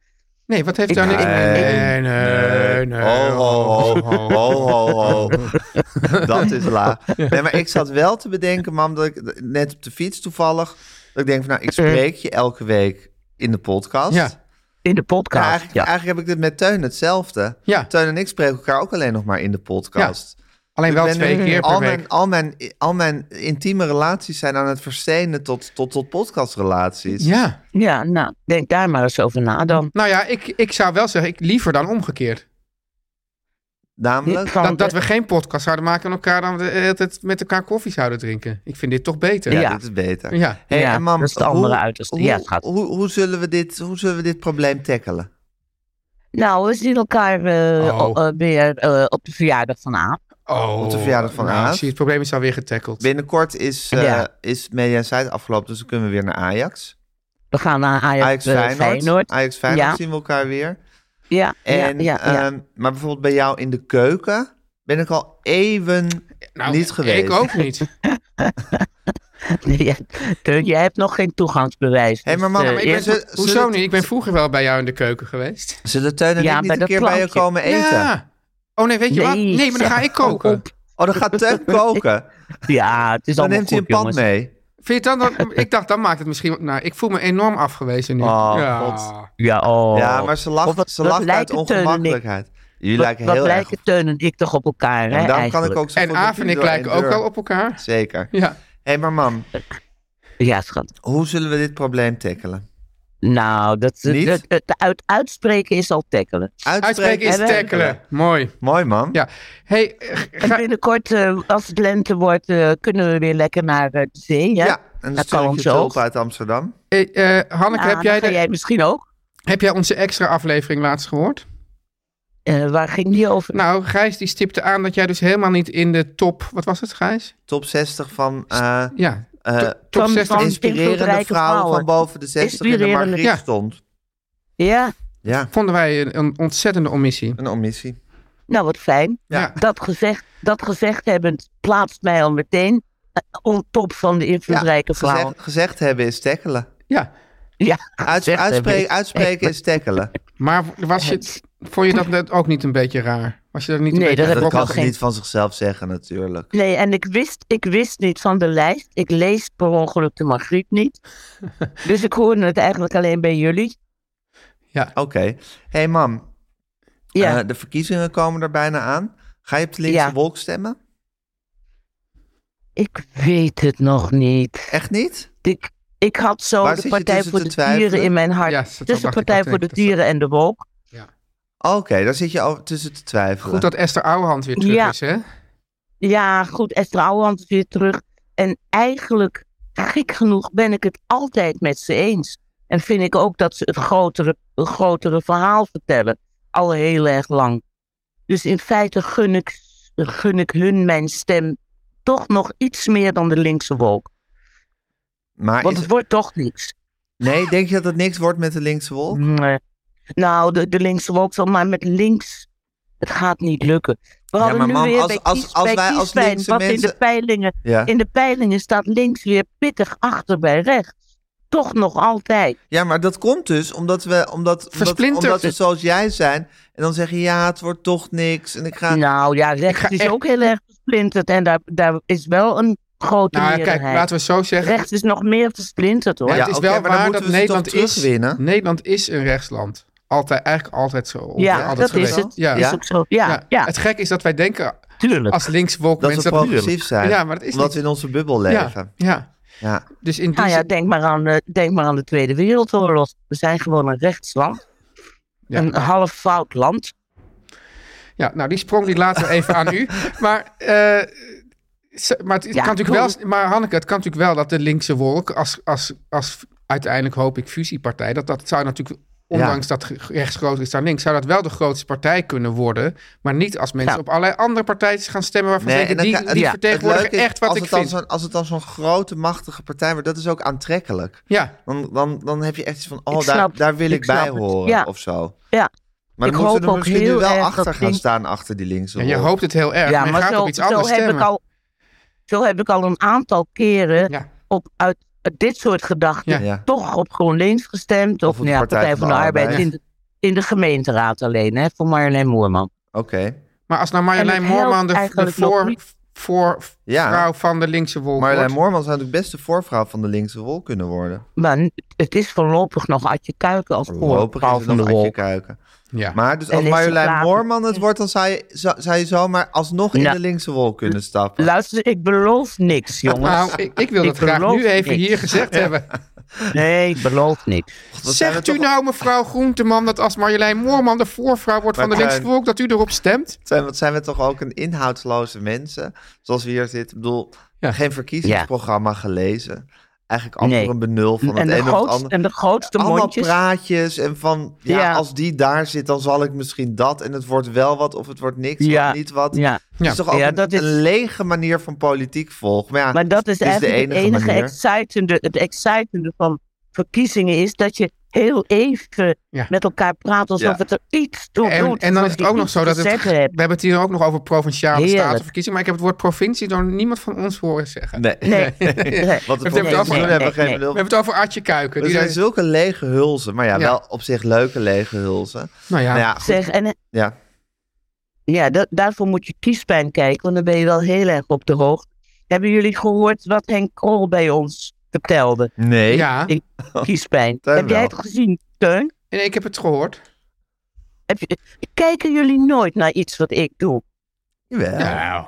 Nee, wat heeft
Ik-
daar... niks-
Nee,
nee, nee, nee.
Eh, Ho, ho, ho,
ho,
ho,
ho.
ho, ho.
[LAUGHS]
Dat is laag. Nee, maar ik zat wel te bedenken, mam, dat ik net op de fiets toevallig... dat ik denk van, nou, ik spreek je elke week in de podcast.
Eh. Ja.
In de
Ja,
podcast.
eigenlijk,
Ja,
eigenlijk heb ik dit met Teun hetzelfde.
Ja.
Teun en ik spreken elkaar ook alleen nog maar in de podcast.
Alleen
Ik
wel
ben
twee
nu-
keer per
al
week.
Mijn, al, mijn, al mijn intieme relaties zijn aan het verstenen tot, tot, tot podcastrelaties.
Ja.
ja, nou, denk daar maar eens over na dan.
Nou ja, ik, ik zou wel zeggen, ik liever dan omgekeerd.
Namelijk,
Van
Dat, dat
de-
we geen podcast zouden maken en elkaar dan de hele tijd met elkaar koffie zouden drinken. Ik vind dit toch beter.
ja,
Ja.
dit is beter.
Ja.
Hey,
Ja,
en mam,
dat is het
hoe-
andere uiterste.
Hoe,
Ja, het gaat.
Hoe, hoe, zullen we dit, hoe zullen we dit probleem tackelen?
Nou, we zien elkaar eh,
Oh.
o- eh, weer eh, op de verjaardag van Aap.
Oh,
Op de verjaardag van
nou,
Aaf.
zie, je, het probleem is alweer getackeld.
Binnenkort is, eh
Ja.
is Media Site afgelopen, dus dan kunnen we weer naar Ajax.
We gaan naar Ajax,
Ajax
eh,
Feyenoord.
Feyenoord.
Ajax Feyenoord
Ja.
zien we elkaar weer.
Ja,
En,
ja, ja, ja.
ehm, maar bijvoorbeeld bij jou in de keuken ben ik al even
Nou,
niet geweest.
Ik ook
[LAUGHS]
niet.
[LAUGHS] Ja, Teun, jij hebt nog geen toegangsbewijs.
Hé, maar
dus,
mam,
eh,
maar ik
ja,
ben zo- zullen-
Hoezo niet? Ik ben vroeger wel bij jou in de keuken geweest.
Zullen Teun en
Ja,
ik
bij
niet een
dat
keer bij je
plankje.
komen eten?
Ja. Oh nee, weet je wat? Nee, maar dan ga
zeg,
ik koken.
hou op.
Oh, dan gaat Teun
[LAUGHS]
koken.
Ja, het is
Dan
allemaal
neemt hij een pan
goed, jongens.
mee.
Vind je het dan, dat- ik dacht, dan maakt het misschien... Nou, ik voel me enorm afgewezen nu.
Oh,
ja.
God.
Ja, oh.
Ja, maar ze
Of
lacht,
wat-
ze
wat
lacht uit
lijken Teun en ik?
ongemakkelijkheid. Jullie
Wat-
lijken
wat
heel erg
lijken Teun en ik toch op elkaar, hè,
En daarom kan ik
eigenlijk.
ook zo
En
goed met
Aaf en
jullie
ik
door
lijken
één
ook
deur.
wel op elkaar.
Zeker.
Ja.
Hé, maar mam,
Ja, schat.
hoe zullen we dit probleem tackelen?
Nou, dat,
Niet?
dat- het uit, uitspreken is al tackelen.
Uitspreken is
En we-
tackelen. Mooi.
Mooi, mam.
Ja. Hey, eh,
En
ga-
binnenkort, eh, als het lente wordt, eh, kunnen we weer lekker naar eh, de zee. Hè?
Ja, en dan
dat
stuur
kan
ik
ons
je tulp
ook.
uit Amsterdam.
eh, eh, Hanneke,
Nou,
heb,
dan
jij
ga
de-
jij misschien ook.
heb jij onze extra aflevering laatst gehoord?
Eh, waar ging die over?
Nou, Gijs die stipte aan dat jij dus helemaal niet in de top... Wat was het, Gijs?
Top 60 van eh,
Ja,
eh,
top
Van-
60
van
inspirerende vrouwen,
invloedrijke vrouwen.
van boven de 60 in de
Inspirerende-
Margriet
Ja.
stond.
Ja,
Ja,
vonden wij een, een ontzettende omissie.
een omissie.
nou wat fijn.
Ja.
Dat gezegd, dat gezegd hebbend plaatst mij al meteen eh, on top van de invloedrijke vrouwen.
Gezegd, gezegd hebben is tackelen.
Ja,
Ja,
Uits-
gezegd
uitspreken,
hebben.
uitspreken is tackelen.
maar was je, vond je dat net ook niet een beetje raar? Was je daar niet een
Nee,
beetje
dat heb
Dat
ik
kan
nog
ze
geen-
niet van zichzelf zeggen natuurlijk.
Nee, en ik wist, ik wist niet van de lijst. Ik lees per ongeluk de Margriet
[LAUGHS]
niet. dus ik hoorde het eigenlijk alleen bij jullie.
Oké. hey, mam,
Ja,
eh, de verkiezingen komen er bijna aan. Ga je op de linkse
Ja.
wolk stemmen?
ik weet het nog niet.
Echt niet?
Ik, ik had zo
Waar zit
de
je
Partij
tussen
voor
te
de
twijfelen?
Dieren in mijn hart.
Ja, dat dacht
tussen
ik
Partij
ook,
voor de
denk ik.
Dieren en de Wolk.
Oké, daar zit je al tussen te twijfelen.
Goed dat Esther Ouwehand weer terug
Ja.
is, hè? Nou,
Ja, goed, Esther Ouwehand is weer terug. En eigenlijk, gek genoeg, ben ik het altijd met ze eens. En vind ik ook dat ze het grotere, het grotere verhaal vertellen. Al heel erg lang. Dus in feite gun ik, gun ik hun mijn stem toch nog iets meer dan de linkse wolk.
Maar
Want
is-
het wordt toch niks.
nee, denk je dat het niks wordt met de linkse wolk?
Nee. Nou, de, de linkse wolk zal maar met links. Het gaat niet lukken. We hadden
maar
nu
mam,
weer
als-
bij
als-
kies-
als
bij
wij als
kiespijn,
linkse
wat in
mensen-
de peilingen
Ja.
In de peilingen staat links weer pittig achter bij rechts. Toch nog altijd.
Ja, maar dat komt dus omdat we, omdat, omdat,
Versplinterd.
omdat we zoals jij zijn en dan zeggen ja, het wordt toch niks en ik ga.
Nou ja,
Ik ga
rechts is
echt-
ook heel erg versplinterd. En daar, daar is wel een grote
Nou, kijk,
meerderheid.
laten we het zo zeggen.
Rechts is nog meer versplinterd hoor.
Maar
Ja.
het is
oké,
wel
maar dan
waar
moeten
dat
we ze toch
Nederland is,
terugwinnen?
Nederland is een rechtsland. Altijd, eigenlijk altijd zo. ongeveer
Ja,
altijd
dat
geweest.
is het.
Ja.
Is ook zo. Ja, ja,
Het gekke is dat wij denken
tuurlijk.
als linkswolk
dat we
mensen dat-
progressief zijn.
Ja, maar dat is
omdat
niet-
we in onze bubbel
ja,
leven.
ja.
Ja.
Dus in die
Nou ja,
zin-
denk maar, aan, eh, denk maar aan de Tweede Wereldoorlog. We zijn gewoon een rechtsland.
Ja.
Een half fout land.
ja, nou die sprong die laten we even aan
[LAUGHS]
u. Maar, eh, ze- maar, het
Ja,
kan natuurlijk
cool.
wel, maar Hanneke, het kan natuurlijk wel dat de linkse wolk als, als, als uiteindelijk hoop ik fusiepartij, dat, dat zou natuurlijk ondanks dat ge- rechts groter is dan links, zou dat wel de grootste partij kunnen worden. Maar niet als mensen
Ja.
op allerlei andere partijen gaan stemmen waarvan ze
en
denken,
dan
die,
ka-
die
ja,
vertegenwoordigen
het leuke is,
echt wat
als
ik
het dan
vind.
zo'n- als het dan zo'n grote, machtige partij wordt, dat is ook aantrekkelijk.
Ja,
Dan, dan, dan heb je echt iets van, oh,
Ik
daar,
snap-
daar wil ik,
ik
bij
snap het.
horen
Ja.
of zo.
Ja.
Maar
Ik
dan moeten
hoop
we er
ook
misschien nu
heel
wel
erg
achter
dat
gaan
ding-
staan, achter die linkse
en je
rol.
hoopt het heel erg, maar je gaat op iets anders
heb
stemmen.
ik al, zo heb ik al een aantal keren
Ja.
op, uit, uit dit soort gedachten
Ja.
Ja.
toch op GroenLinks gestemd. Of,
Of op
nou ja, Partij, van de, Arbeid,
Arbeid.
in, de, in de gemeenteraad alleen, hè, voor Marjolein Moerman.
Oké.
Maar als nou
En
Marjolein
het helpt
Moorman de, de
eigenlijk nog
voor,
niet.
voor
Ja.
vrouw van de linkse wolk
Marjolein
wordt.
Moorman zou natuurlijk best de voorvrouw van de linkse wol kunnen worden.
Maar n- het is voorlopig nog Adje Kuiken als voor
Voorlopig
Paul
is
van
het
de
nog Adje
Wol.
Kuiken.
Ja.
Maar dus
En
als
Lisa
Marjolein
Klaver.
Moorman het wordt, dan zou je, zou, zou je zomaar alsnog in
Ja.
de linkse wol kunnen stappen.
Luister, ik beloof niks, jongens.
Nou, ik, ik wil
Ik
dat graag
beloof
nu even
niks.
hier gezegd hebben.
Nee, ik beloof niks.
Dat zijn we
Zegt u
toch-
nou, mevrouw Groenteman, dat als Marjolein Moorman de voorvrouw wordt van de
Maar
linkse
Tuin-
volk, dat u erop stemt?
Zijn, wat zijn we toch ook een inhoudsloze mensen, zoals we hier zitten. Ik bedoel,
Ja.
geen verkiezingsprogramma gelezen. Eigenlijk amper
Nee.
een benul van
En
het
de,
een of het
grootste,
ander.
en de grootste
Allemaal
mondjes.
praatjes en van, ja,
Ja.
als die daar zit, dan zal ik misschien dat. En het wordt wel wat of het wordt niks
Ja.
of niet wat.
Ja.
Het
Ja.
is toch ook
Ja,
een,
dat is-
een lege manier van politiek volgen.
Ah,
Maar ja,
Maar dat is
het is de
eigenlijk
enige,
het enige
manier.
excitende, het excitende van verkiezingen is dat je heel even
Ja.
met elkaar praat alsof
Ja.
het er iets toe
En,
doet.
en dan
wat
is het
je
ook nog
iets
zo dat
te
het, Ah, we
zeggen hebt.
hebben het hier ook nog over provinciale
Heerlijk.
statenverkiezingen, maar ik heb het woord provincie door niemand van ons horen
[LAUGHS]
zeggen.
Nee.
Nee. Nee.
Wat de
We hebben het
politici
over-
doen hebben geen
nee.
We
benul.
hebben het over Artje Kuiken.
We
die
zijn
daar-
zulke lege hulzen, maar ja,
Ja.
wel op zich leuke lege hulzen.
nou ja,
Nou ja, goed,
Zeg, en
ja.
ja, dat, daarvoor moet je kiespijn kijken, want dan ben je wel heel erg op de hoogte. Hebben jullie gehoord wat Henk Krol bij ons
[LAUGHS]
vertelde?
Nee.
ja.
Ik- Kiespijn.
Teun
Heb jij
wel.
nou.
het gezien, Teun?
En ik heb het gehoord.
Heb je, kijken jullie nooit naar iets wat ik doe?
Jawel.
Nou,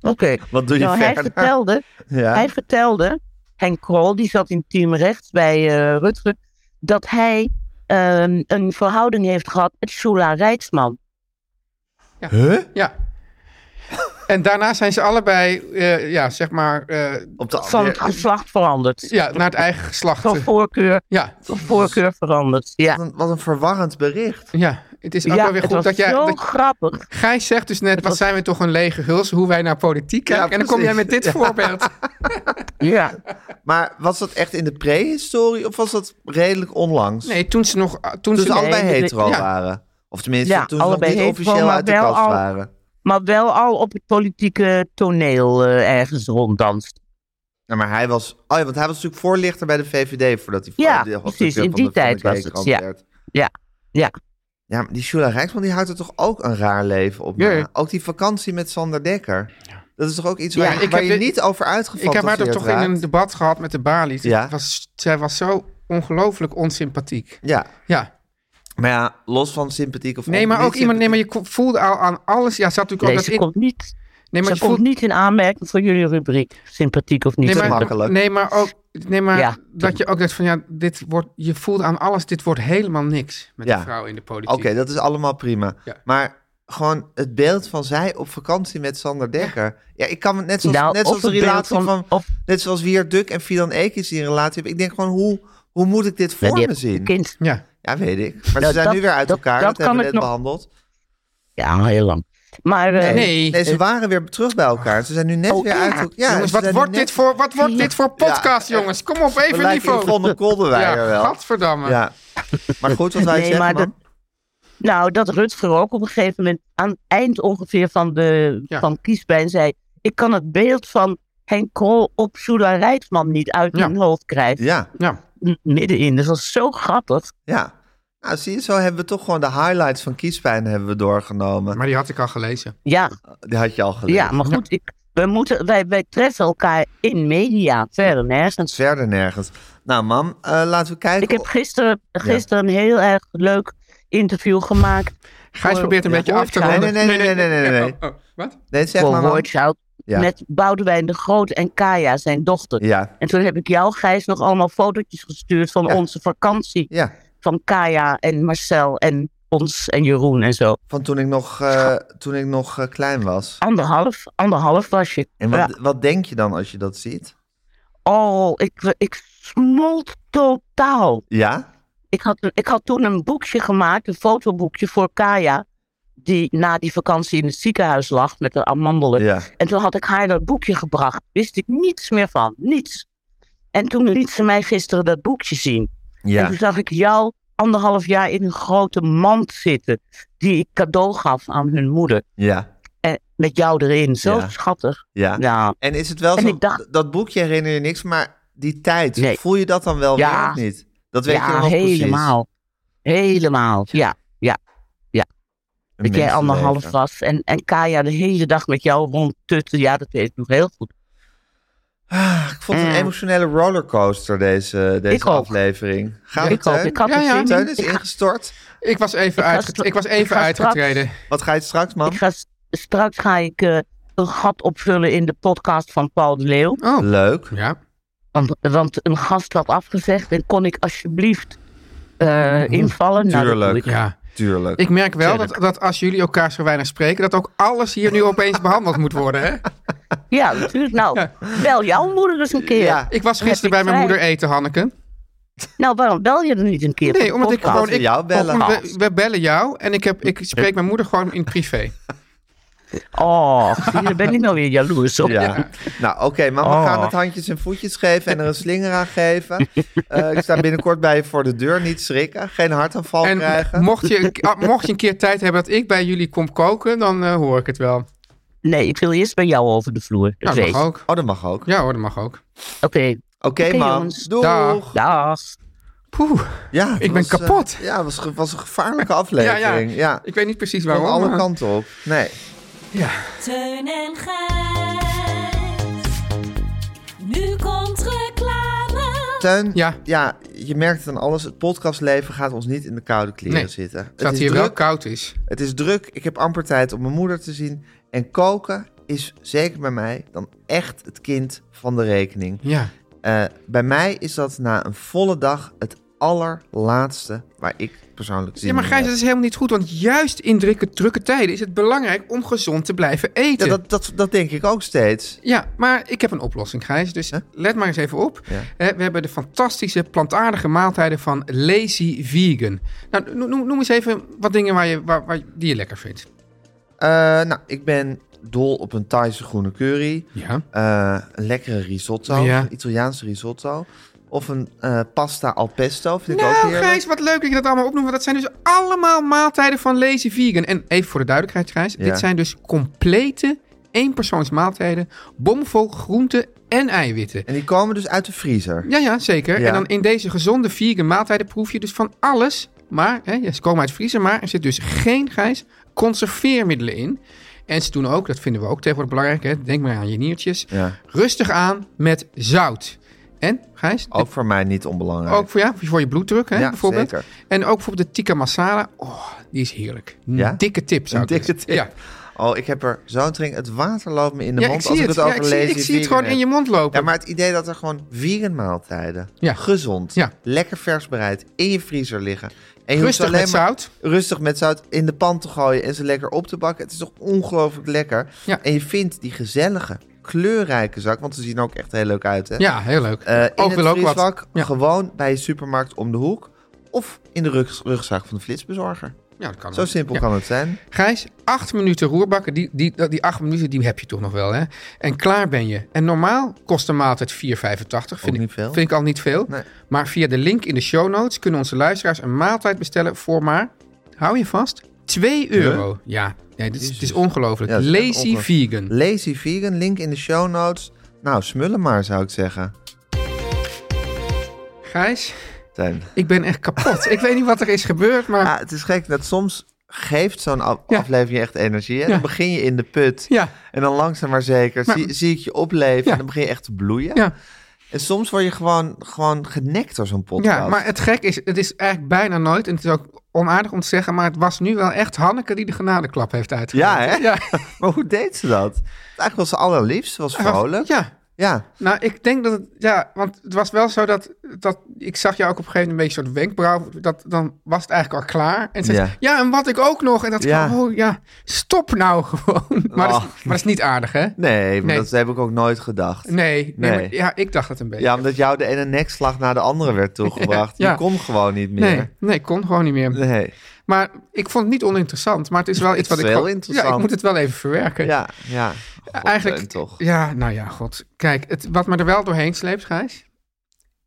Oké.
Wat doe je
Nou, hij
verder?
vertelde
[LAUGHS] ja.
Hij vertelde, Henk Krol, die zat in team rechts bij eh Rutger, dat hij ehm, een verhouding heeft gehad met Shula
Oh,
Rijksman.
Huh?
ja. En daarna zijn ze allebei, eh, ja, zeg maar, eh,
Op de
Van het geslacht veranderd.
ja, naar het eigen geslacht.
Van voorkeur,
Ja,
van voorkeur veranderd. Ja,
Wat een, wat een verwarrend bericht.
ja. Het is ook
ja
wel weer
het
goed
was
dat jij...
zo
dat-
grappig.
Gijs zegt dus net, wat
was-
zijn we toch een lege huls, hoe wij naar politiek kijken. en dan kom jij
precies. [LAUGHS]
met dit voorbeeld.
Ja.
Maar was dat echt in de prehistorie of was dat redelijk onlangs?
Nee, toen ze nog... Toen
toen
ze
ze
nee,
Dus allebei
nee,
hetero
ja.
waren. Of tenminste,
Ja,
toen ze nog
allebei
niet
hetero,
officieel
maar
uit de
wel
kast
al-
waren.
Maar wel al op het politieke toneel eh, ergens ronddanst.
Ja, maar hij was... Oh ja, want hij was natuurlijk voorlichter bij de VVD voordat hij...
Ja,
voor- de-
precies,
hoofdredacteur
in
van
die
de- van de
tijd was het,
Telegraaf
ja.
werd.
Ja,
Ja, maar die Shula Rijksman die houdt er toch ook een raar leven op. na?
Ja.
Ook die vakantie met Sander Dekker. Dat is toch ook iets
Ja,
waar,
ik
waar
heb
je
dit-
niet over
Ik heb haar
uitgefantaseerd
toch toch in een
raakt?
debat gehad met de Bali.
Ja.
Was, zij was zo ongelooflijk onsympathiek.
Ja,
Ja.
maar ja, los van sympathiek of
Nee, maar
niet
ook iemand... Nee, maar
sympathiek.
je ko- voelde al aan alles... Ja, zat natuurlijk
nee,
ook
ze
dat... in-
komt, niet,
Nee, maar
ze
je
komt
voelde...
niet in aanmerking voor jullie rubriek. Sympathiek of niet.
Nee, maar,
makkelijk.
nee, maar ook... Nee, maar
Ja.
dat je ook dacht van... Ja, dit wordt... Je voelde aan alles... Dit wordt helemaal niks met
Ja.
de vrouw in de politiek.
Oké, dat is allemaal prima.
Ja.
Maar gewoon het beeld van zij op vakantie met Sander Dekker. Ja, ik kan het net zoals,
Nou,
net
of
zoals de
het beeld
relatie van,
van- of-
net zoals Wier Duk en Fidan Ekis die een relatie hebben. Ik denk gewoon, hoe, hoe moet ik dit voor
die
me
heeft
zien?
een kind.
Ja.
Ja, weet ik. Maar ze
Nou,
zijn
dat-
nu weer uit
dat-
elkaar. Dat,
dat kan
hebben we
ik
net
nog-
behandeld.
Ja, heel lang. Maar eh, Oh,
Nee.
nee, ze waren weer terug bij elkaar. Ze zijn nu net weer uit elkaar. Ja,
jongens,
ze
wat
zijn nu
wordt,
net-
dit voor, wat wordt dit voor podcast,
Ja,
jongens? Kom op,
We
even
lijken
niveau.
Yvonne Kolderweijer
ja,
wel.
gadverdamme.
Ja. Maar goed, wat wij
Nee,
zeggen,
maar
man.
Nou, dat Rutger ook op een gegeven moment aan het eind ongeveer van, de,
Ja.
van Kiespijn zei... ik kan het beeld van Henk Krol op Sula Rijksman niet uit
Ja.
mijn hoofd krijgen.
Ja,
Ja.
M- Middenin, dat was zo grappig.
ja. Nou, zie je, zo hebben we toch gewoon de highlights van Kiespijn hebben we doorgenomen.
Maar die had ik al gelezen.
Ja,
Die had je al gelezen.
ja maar goed, ik, we moeten, wij, wij treffen elkaar in media, verder nergens.
Verder nergens. Nou, mam, eh, laten we kijken.
Ik heb gisteren, gisteren een heel erg leuk interview gemaakt
Gijs probeert een
Ja,
beetje
hoor,
af te
Gijs.
ronden.
Nee, nee, nee, nee, nee, nee, nee.
Oh, oh, Wat?
Nee, zeg
voor
maar, mam.
Woordzout...
Ja.
met Boudewijn de Groot en Kaya, zijn dochter.
Ja,
En toen heb ik jou, Gijs, nog allemaal fotootjes gestuurd van
Ja.
onze vakantie.
ja.
Van Kaya en Marcel en ons en Jeroen en zo.
Van toen ik nog, eh, toen ik nog eh, klein was.
Anderhalf, anderhalf was je. Eh,
En wat,
Ja.
wat denk je dan als je dat ziet?
Oh, ik, ik smolt totaal.
Ja?
Ik had, een- ik had toen een boekje gemaakt, een fotoboekje voor Kaya. Die na die vakantie in het ziekenhuis lag met de amandelen.
Ja.
En toen had ik haar dat boekje gebracht. Wist ik niets meer van. Niets. En toen liet ze mij gisteren dat boekje zien. En
Ja.
toen zag ik jou anderhalf jaar in een grote mand zitten. Die ik cadeau gaf aan hun moeder.
Ja.
En met jou erin. Zo
Ja.
schattig.
Ja.
Ja.
En is het wel
En
zo,
ik dacht-
dat boekje herinner je niks, maar die tijd,
Nee.
voel je dat dan wel
Ja.
weer of niet? Dat weet je
ja,
nog precies.
helemaal. Helemaal. Ja.
Een
Dat jij
mensenleven.
anderhalf was. En, en Kaya de hele dag met jou rondtutten. Ja, dat weet ik nog heel goed.
Ah, ik vond het een
Mm.
emotionele rollercoaster deze, deze
Ik ook.
aflevering. Gaat
ik
het,
ook.
Teun?
Ik had
Ja,
het
ja.
zin in.
Teun is
Ik ga-
ingestort.
Ik was even,
Ik ga
uitget-
stra-
ik was
ik
even
ga
uitgetreden.
Wat ga je straks, man?
Ik ga s- straks ga ik eh, een gat opvullen in de podcast van Paul de Leeuw.
Oh,
Leuk.
ja.
Want, want een gast had afgezegd en kon ik alsjeblieft eh, invallen. Nou, dat
Hm.
doe
Tuurlijk.
ik.
Ja.
Tuurlijk.
Ik merk wel dat, dat als jullie elkaar zo weinig spreken, dat ook alles hier nu opeens behandeld moet worden. Hè?
Ja, natuurlijk. Nou,
[LAUGHS]
bel jouw moeder eens een keer.
Ja.
Ik was gisteren bij mijn moeder eten, Hanneke.
Nou, waarom bel je er niet een keer?
Nee, omdat ik
Podcast.
gewoon... Ik,
jou bellen.
omdat We, we bellen jou en ik, heb, ik spreek mijn moeder gewoon in
[LAUGHS]
privé.
Oh, zie je, daar ben ik nou weer jaloers op.
Ja. Nou, oké, maar we
Oh.
gaan het handjes en voetjes geven en er een slinger aan geven. Eh, ik sta binnenkort bij je voor de deur, niet schrikken. Geen hartaanval
En
krijgen.
mocht je, een- ah, mocht je een keer tijd hebben dat ik bij jullie kom koken, dan eh, hoor ik het wel.
Nee, ik wil eerst bij jou over de vloer.
Ja,
Dat
dat
weet
mag
je.
ook.
Oh, dat mag ook.
Ja hoor, dat mag ook.
Oké,
Oké,
Oké,
man.
jongens.
Doeg.
Dag.
dag.
Poeh,
Ja, het
Ik ben
eh,
kapot.
ja, het was, ge- was een gevaarlijke aflevering. Ja,
ik weet niet precies
Van
waarom. eh?
alle
maar-
kanten op. Nee.
Teun en Gijs. Nu komt reclame.
Teun, ja.
Ja.
je merkt het aan alles. Het podcastleven gaat ons niet in de koude kleren
Nee,
zitten.
Dat
is
het hier wel
druk,
koud is.
Het is druk. Ik heb amper tijd om mijn moeder te zien. En koken is zeker bij mij dan echt het kind van de rekening.
Ja.
Eh, bij mij is dat na een volle dag het allerlaatste waar ik persoonlijk zin
ja, maar
in
Gijs,
heb.
dat is helemaal niet goed. Want juist in drukke, drukke tijden is het belangrijk om gezond te blijven eten.
Ja, dat, dat, dat denk ik ook steeds.
Ja, maar ik heb een oplossing, Gijs. Dus
Huh?
let maar eens even op.
Ja.
Eh, we hebben de fantastische plantaardige maaltijden van Lazy Vegan. Nou, no- noem, noem eens even wat dingen waar je, waar, waar, die je lekker vindt.
Eh, nou, ik ben dol op een Thaise groene curry.
Ja.
eh, een lekkere risotto,
Oh, Ja.
een Italiaanse risotto. Of een eh, pasta al pesto, vind ik ook
Nou,
heerlijk.
Gijs, wat leuk dat je dat allemaal opnoemt. Want dat zijn dus allemaal maaltijden van Lazy Vegan. En even voor de duidelijkheid, Gijs.
Ja.
Dit zijn dus complete eenpersoonsmaaltijden. Bomvol groenten en eiwitten.
En die komen dus uit de vriezer.
Ja, ja, zeker.
Ja.
En dan in deze gezonde vegan maaltijden proef je dus van alles. Maar, hè, ja, ze komen uit vriezen, maar er zit dus geen, Gijs, conserveermiddelen in. En ze doen ook, dat vinden we ook tegenwoordig belangrijk, hè, denk maar aan je niertjes,
Ja.
rustig aan met zout. En, Gijs,
Ook voor mij niet onbelangrijk.
ook voor, ja, voor je bloeddruk, hè,
Oh, Ja,
bijvoorbeeld.
zeker.
En ook bijvoorbeeld de tikka masala. Oh, die is heerlijk. Een
Ja?
dikke tip, zou
Een
ik dus-
dikke
zeggen.
tip. Oh, ik heb er zo'n drink. Het water loopt me in de
Ja. ja,
mond
ik zie
als ik
het.
het over
ja, ik zie,
lazy
ik zie het
vegan
gewoon in
heb.
je mond lopen.
Ja, maar het idee dat er gewoon vegan maaltijden,
Ja.
gezond,
Ja.
lekker vers bereid, in je vriezer liggen. En je hoeft
Rustig
alleen
met
maar-
zout.
Rustig met zout in de pan te gooien en ze lekker op te bakken. Het is toch ongelooflijk lekker.
Ja.
En je vindt die gezellige, kleurrijke zak, want ze zien er ook echt heel leuk uit hè.
Ja, heel leuk.
Eh, in
ook
het
wil ook wat.
vriesvak,
Ja.
gewoon bij je supermarkt om de hoek. Of in de rug- rugzak van de flitsbezorger.
Ja, dat kan
Zo
ook.
simpel
Ja.
kan het zijn.
Gijs, acht minuten roerbakken. Die, die, die acht minuten die heb je toch nog wel, hè? En klaar ben je. En normaal kost een maaltijd 4,85. Vind, ik-
niet veel.
vind ik al niet veel.
Nee.
Maar via de link in de show notes kunnen onze luisteraars een maaltijd bestellen voor maar, hou je vast, 2 euro. Ja, nee, dit is, het is ongelooflijk.
Ja, dat is echt
Lazy
ongelooflijk.
vegan.
Lazy Vegan, link in de show notes. Nou, smullen maar zou ik zeggen.
Gijs,
Teun.
ik ben echt kapot. ik weet niet wat er is gebeurd, maar
Ja, het is gek dat soms geeft zo'n af-
Ja.
aflevering echt energie. Hè? Dan
Ja.
begin je in de put.
ja,
En dan langzaam maar zeker
Maar-
zie, zie ik je opleven.
Ja.
En dan begin je echt te bloeien.
ja.
En soms word je gewoon, gewoon genekt door zo'n podcast.
Ja, maar het gek is, het is eigenlijk bijna nooit, en het is ook onaardig om te zeggen, maar het was nu wel echt Hanneke die de genadeklap heeft uitgegeven.
[LAUGHS] Ja, hè?
Ja.
Maar hoe deed ze dat? Eigenlijk was ze allerliefst. Ze was vrolijk.
Ja,
Ja,
Nou, ik denk dat het, ja, want het was wel zo dat, dat ik zag jou ook op een gegeven moment een beetje soort wenkbrauw, dat dan was het eigenlijk al klaar. En zei,
Ja.
ze, ja, en wat ik ook nog, en dat
Ja.
ik, oh ja, stop nou [LAUGHS] gewoon. Maar, dat,
Oh.
is, maar dat is niet aardig, hè?
nee, maar
Nee.
dat heb ik ook nooit gedacht.
Nee, nee,
Nee.
maar ja, ik dacht dat een beetje.
Ja, omdat jou de ene nekslag naar de andere werd toegebracht.
Ja.
Die kon gewoon niet
nee,
meer.
nee, kon gewoon niet meer.
Nee.
Maar ik vond het niet oninteressant, maar het
[LAUGHS]
is wel iets wat ik
is wel
gewoon-
interessant.
Ja, ik moet het wel even verwerken.
Ja, ja. God,
Eigenlijk,
Teun, toch.
ja, nou ja, god. Kijk, het, wat me er wel doorheen sleept, Gijs.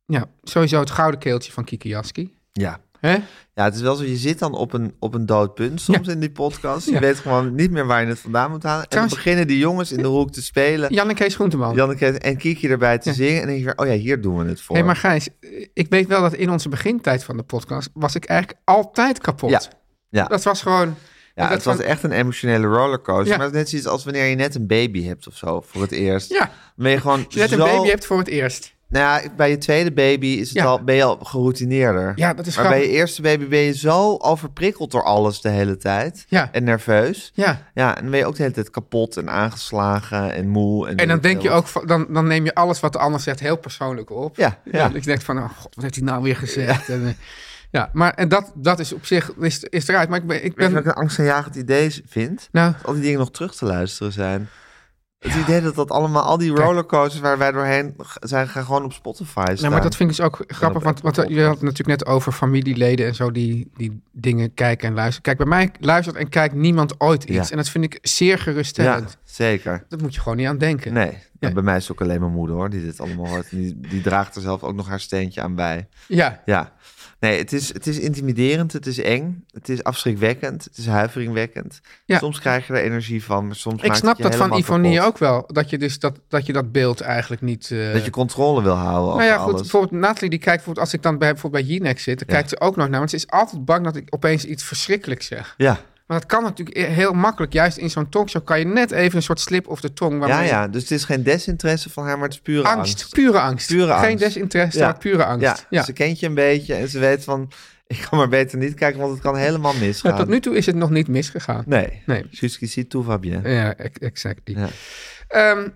Ja, sowieso het gouden keeltje van Kiki Jaski.
Ja.
Hè?
Ja, het is wel zo, je zit dan op een, op een dood punt soms in die podcast. Je
Ja.
weet gewoon niet meer waar je het vandaan moet halen. En dan
Trouwens-
beginnen die jongens in de hoek te spelen.
Jan en Kees Groenteman.
Janneke en Kiki erbij te
Ja.
zingen. En dan denk je weer, oh ja, hier doen we het voor.
Hé, maar Gijs, ik weet wel dat in onze begintijd van de podcast was ik eigenlijk altijd kapot.
Ja, ja.
Dat was gewoon...
ja,
dat
het was
van-
echt een emotionele rollercoaster.
Ja.
Maar het is net zoiets als wanneer je net een baby hebt of zo, voor het eerst.
Ja,
Dan ben je gewoon
je net een
zo...
baby hebt voor het eerst.
Nou ja, bij je tweede baby is het
Ja.
al, ben je al geroutineerder.
Ja, dat is
Maar bij
grappig.
je eerste baby ben je zo overprikkeld door alles de hele tijd.
Ja.
En nerveus.
Ja,
Ja, en dan ben je ook de hele tijd kapot en aangeslagen en moe. En,
en dan denk je
wat.
ook, van- dan, dan neem je alles wat de ander zegt heel persoonlijk op.
Ja, ja.
ik denk van, oh god, wat heeft hij nou weer gezegd? Ja, en, eh, ja maar en dat, dat is op zich, is, is eruit. Maar ik ben, ik
Weet je wat
ben
ik een angstaanjagend idee z- vind?
nou,
Dat al die dingen nog terug te luisteren zijn. Het idee dat dat allemaal, al die rollercoasters waar wij doorheen g- zijn, gaan gewoon op Spotify staan.
Nou, maar dat vind ik dus ook grappig,
op
want, want eh,
Apple
je had het natuurlijk net over familieleden en zo die, die dingen kijken en luisteren. Kijk, bij mij luistert en kijkt niemand ooit iets.
Ja.
En dat vind ik zeer
Ja,
geruststellend.
zeker.
Dat moet je gewoon niet aan denken.
Nee, nou,
Nee.
bij mij is het ook alleen mijn moeder hoor, die dit allemaal hoort. En Die, die draagt er zelf ook nog haar steentje aan bij.
Ja,
Ja. Nee, het is, het is intimiderend, het is eng, het is afschrikwekkend, het is huiveringwekkend.
Ja.
Soms krijg je er energie van, maar soms
ik
maakt
snap
het je
dat van
helemaal
Ivonie
kapot.
ook wel. Dat je, dus dat, dat je dat beeld eigenlijk niet... eh,
Dat je controle wil houden
nou
over
ja, goed.
alles.
Bijvoorbeeld Nathalie, die kijkt bijvoorbeeld, als ik dan bij, bijvoorbeeld bij Jinek zit, dan
Ja.
kijkt ze ook nog naar. Want ze is altijd bang dat ik opeens iets verschrikkelijks zeg.
Ja,
Maar dat kan natuurlijk e-, heel makkelijk. Juist in zo'n talkshow kan je net even een soort slip of de tong.
ja,
waarmee-
ja, dus het is geen desinteresse van haar, maar het is pure angst.
Angst, pure angst.
Pure
Geen
angst.
desinteresse, maar pure angst.
Ja,
Ja.
ze kent je een beetje en ze weet van, [LAUGHS] ik kan maar beter niet kijken, want het kan helemaal misgaan.
Maar tot nu toe is het nog niet misgegaan.
Nee,
Nee.
Suski ziet toe, Fabien.
Ja, ex- exactly.
Ja.
Ja.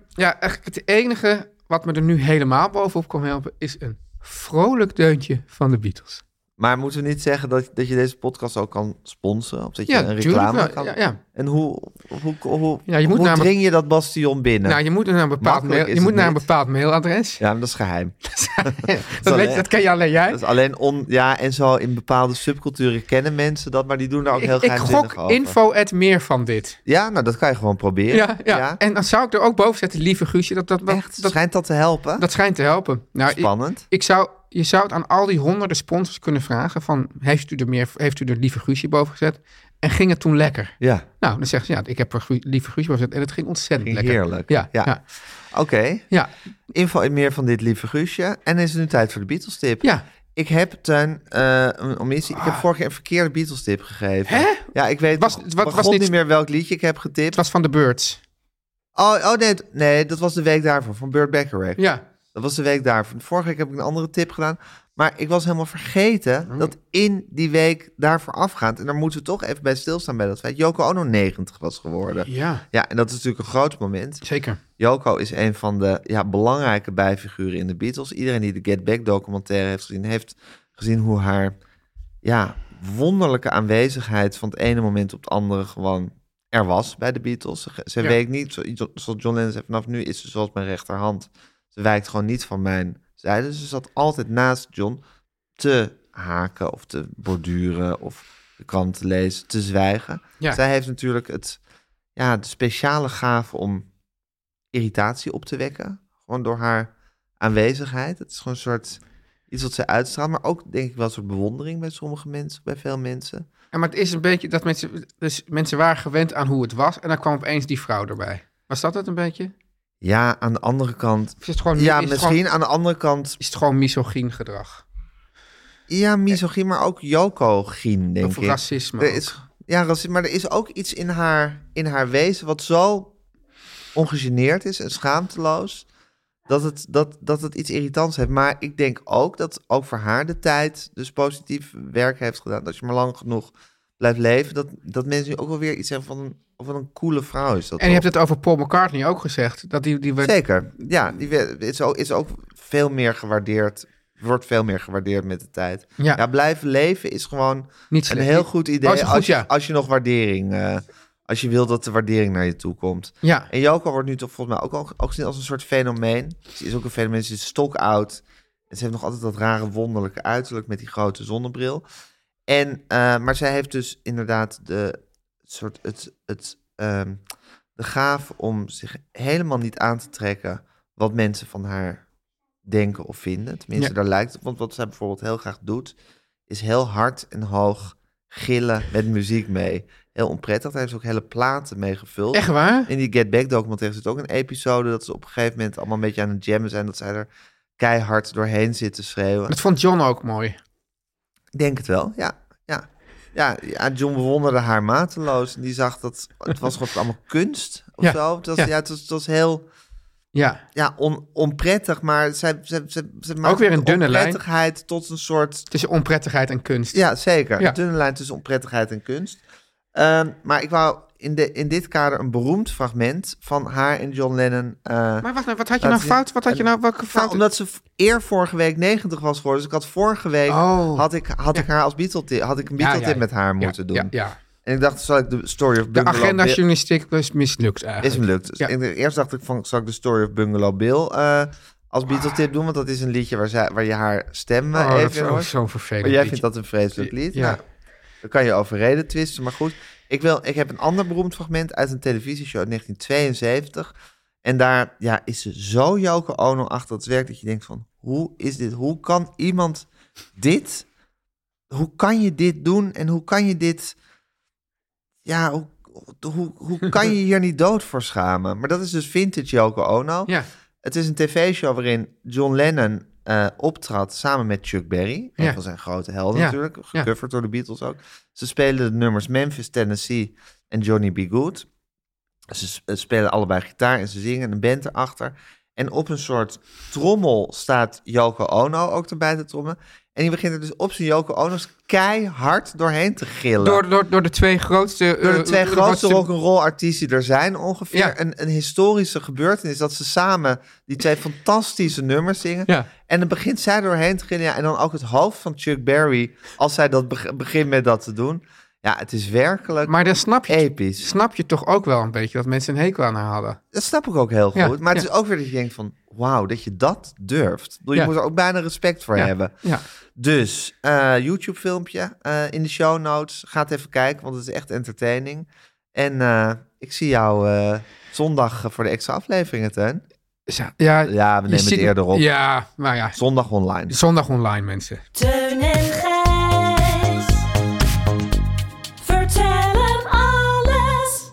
ja, eigenlijk het enige wat me er nu helemaal bovenop kon helpen... is een vrolijk deuntje van de Beatles.
Maar moeten we niet zeggen dat, dat je deze podcast ook kan sponsoren? Of dat je
Ja,
een
tuurlijk
reclame
wel.
kan...
Ja, ja.
En hoe, hoe, hoe,
Ja, je moet
hoe
namelijk-
dring je dat bastion binnen?
Nou, je moet naar een bepaald,
Makkelijk
mail,
is
je moet
het
naar een
niet.
bepaald mailadres.
Ja, maar dat is geheim.
dat, weet,
alleen-
je- dat ken je alleen jij.
Dat is alleen on... Ja, en zo in bepaalde subculturen kennen mensen dat, maar die doen daar ook heel
ik, ik
geheimzinnig
gok
over.
info at meer van dit.
Ja, nou, dat kan je gewoon proberen.
Ja, ja. En dan zou ik er ook boven zetten, lieve Guusje. Dat, dat, dat,
Echt,
dat,
schijnt dat te helpen?
dat schijnt te helpen. Nou, ik-
Spannend.
Ik zou, je zou het aan al die honderden sponsors kunnen vragen van... heeft u er, meer, heeft u er lieve Guusje boven gezet? En ging het toen lekker?
Ja,
Nou, dan zeggen ze, ja, ik heb er Gu- lieve Guusje boven gezet. En het ging ontzettend
Ging
lekker.
heerlijk.
Ja,
Ja.
ja. ja.
oké.
ja.
Info en meer van dit lieve Guusje. En is het nu tijd voor de Beatles tip.
Ja. Ah.
Ik heb ten, eh een omissie. Ik heb vorige keer een verkeerde Beatles tip gegeven.
Hè?
Ja, ik weet
Was-
nog-
het wa-
begon
was niet-
niet meer welk liedje ik heb
Het
getipt.
was van de Birds.
Oh, oh nee, t- nee, dat was de week daarvoor, van Burt Bacharach.
Ja.
Dat was de week daarvoor. Vorige week heb ik een andere tip gedaan. Maar ik was helemaal
Oh.
vergeten dat in die week daarvoor afgaand... en daar moeten we toch even bij stilstaan bij dat feit... Joko Ono 90 was geworden.
Ja.
Ja, en dat is natuurlijk een groot moment.
Zeker.
Joko is een van de ja, belangrijke bijfiguren in de Beatles. Iedereen die de Get Back documentaire heeft gezien... heeft gezien hoe haar ja, wonderlijke aanwezigheid... van het ene moment op het andere gewoon er was bij de Beatles. Ze, ze
Ja.
weet niet, zo- zoals John Lennon zei... vanaf nu is ze zoals mijn rechterhand. Ze wijkt gewoon niet van mijn zijde. Ze zat altijd naast John te haken of te borduren... of de krant te lezen, te zwijgen.
Ja.
Zij heeft natuurlijk het, ja, de speciale gave om irritatie op te wekken. Gewoon door haar aanwezigheid. Het is gewoon een soort iets wat ze uitstraalt. Maar ook denk ik wel een soort bewondering bij sommige mensen, bij veel mensen.
En maar het is een beetje dat mensen... Dus mensen waren gewend aan hoe het was. En dan kwam opeens die vrouw erbij. Was dat het een beetje?
Ja, aan de andere kant.
Of is het gewoon,
Ja,
is het
misschien
gewoon-
aan de andere kant.
is het gewoon misogyn gedrag?
Ja, misogynie, maar ook Joko-gien, denk
Of
ik.
racisme
Er
ook.
is, ja, racisme. Maar er is ook iets in haar, in haar wezen wat zo ongegeneerd is en schaamteloos. Dat het, dat, dat het iets irritants heeft. Maar ik denk ook dat ook voor haar de tijd dus positief werk heeft gedaan. Dat je maar lang genoeg blijft leven. Dat, dat mensen nu ook wel weer iets hebben van... Oké, Of wat een coole vrouw is dat.
En je hebt
toch?
het over Paul McCartney ook gezegd. Dat die, die werd-
Zeker. Ja, die we- is ook, is ook veel meer gewaardeerd. Wordt veel meer gewaardeerd met de tijd.
Ja.
Ja, blijven leven is gewoon
Niet
een
slecht.
heel goed idee.
Oh, is het goed?
als, je,
Ja.
als je nog waardering. eh, als je wil dat de waardering naar je toe komt.
Ja.
En Joko wordt nu toch volgens mij ook, al- ook gezien als een soort fenomeen. Ze is ook een fenomeen, ze is stokoud. En ze heeft nog altijd dat rare wonderlijke uiterlijk met die grote zonnebril. En, eh, maar zij heeft dus inderdaad de, soort, het, het, ehm, de gaaf om zich helemaal niet aan te trekken wat mensen van haar denken of vinden. Tenminste,
Ja.
daar lijkt het. Want wat zij bijvoorbeeld heel graag doet, is heel hard en hoog gillen met muziek mee. Heel onprettig. Daar heeft ze ook hele platen mee gevuld.
Echt waar?
In die Get Back documentaire zit ook een episode dat ze op een gegeven moment allemaal een beetje aan het jammen zijn. Dat zij er keihard doorheen zit te schreeuwen.
Dat vond John ook mooi.
Ik denk het wel, ja. Ja, ja, ja John bewonderde haar mateloos. En die zag dat het was gewoon allemaal kunst of
Ja,
zo. Het was,
ja.
ja. het was, het was heel
Ja.
ja, on, onprettig, maar zij, zij, zij, zij maakt
weer een dunne lijn.
onprettigheid tot een soort...
Tussen onprettigheid en kunst.
Ja, zeker.
Ja.
Een dunne lijn tussen onprettigheid en kunst. Ehm, maar ik wou in, de, in dit kader een beroemd fragment van haar en John Lennon... eh,
Maar wacht nou, wat had je
Laat
nou
zien.
fout? Wat had je
En-
nou, welke
Nou,
fout?
omdat ze v- eer vorige week 90 was geworden. Dus ik had vorige week
Oh.
had ik, had ik haar als Beatle tip, had ik een Beatle tip
Ja, ja, ja.
met haar
Ja,
moeten doen.
Ja, ja.
En ik dacht, zal ik de story of
De
Bungalow
agenda
Bill...
journalistiek was mislukt
Is
eigenlijk.
hem lukt. Dus
Ja.
ik- Eerst dacht ik van, zal ik de story of Bungalow Bill eh, als Beatle tip doen? Want dat is een liedje waar, zij, waar je haar stem eh,
Oh, dat
even
is
in
ook
hoort.
zo'n vervelend
Maar jij
liedje.
vindt dat een vreselijk lied? Nou,
Ja.
Ja. dan kan je overreden twisten, maar goed. Ik, wil, ik heb een ander beroemd fragment uit een televisieshow uit 1972. En daar ja, is ze zo Joko Ono achter het werk dat je denkt van... Hoe is dit? Hoe kan iemand dit? Hoe kan je dit doen? En hoe kan je dit... Ja, hoe, hoe, hoe kan je hier niet dood voor schamen? Maar dat is dus vintage Joko Ono.
Ja.
Het is een tv-show waarin John Lennon eh, optrad samen met Chuck Berry. Een
Ja.
van zijn grote helden
Ja.
natuurlijk. Gecoverd door de Beatles ook. Ze spelen de nummers Memphis, Tennessee en Johnny B. Good. Ze s- eh, spelen allebei gitaar en ze zingen en een band erachter. En op een soort trommel staat Yoko Ono ook erbij te trommen. En die begint er dus op zijn Yoko Ono's keihard doorheen te gillen.
Door, door, door de twee grootste...
Door de
eh,
twee
eh,
grootste rock'n'roll artiesten die er zijn ongeveer.
Ja.
Een, een historische gebeurtenis dat ze samen die twee fantastische nummers zingen.
Ja.
En dan begint zij doorheen te gaan. Ja, en dan ook het hoofd van Chuck Berry als zij dat beg- begint met dat te doen. Ja, het is werkelijk
Maar dan snap je,
episch.
snap je toch ook wel een beetje dat mensen een hekel aan haar hadden.
Dat snap ik ook heel goed.
Ja,
Maar het
ja.
is ook weer dat je denkt van, wauw, dat je dat durft. Ik bedoel,
Ja.
Je moet er ook bijna respect voor
Ja,
hebben.
ja.
Dus, eh, YouTube filmpje eh, in de show notes. Ga het even kijken, want het is echt entertaining. En eh, ik zie jou eh, zondag voor de extra afleveringen, Teun.
Zo- Ja,
Ja, we
Eh, je
nemen het
ziet-
eerder op.
Ja, maar ja.
Zondag online.
Zondag online, mensen.
Teun en Gijs. Vertel hem alles.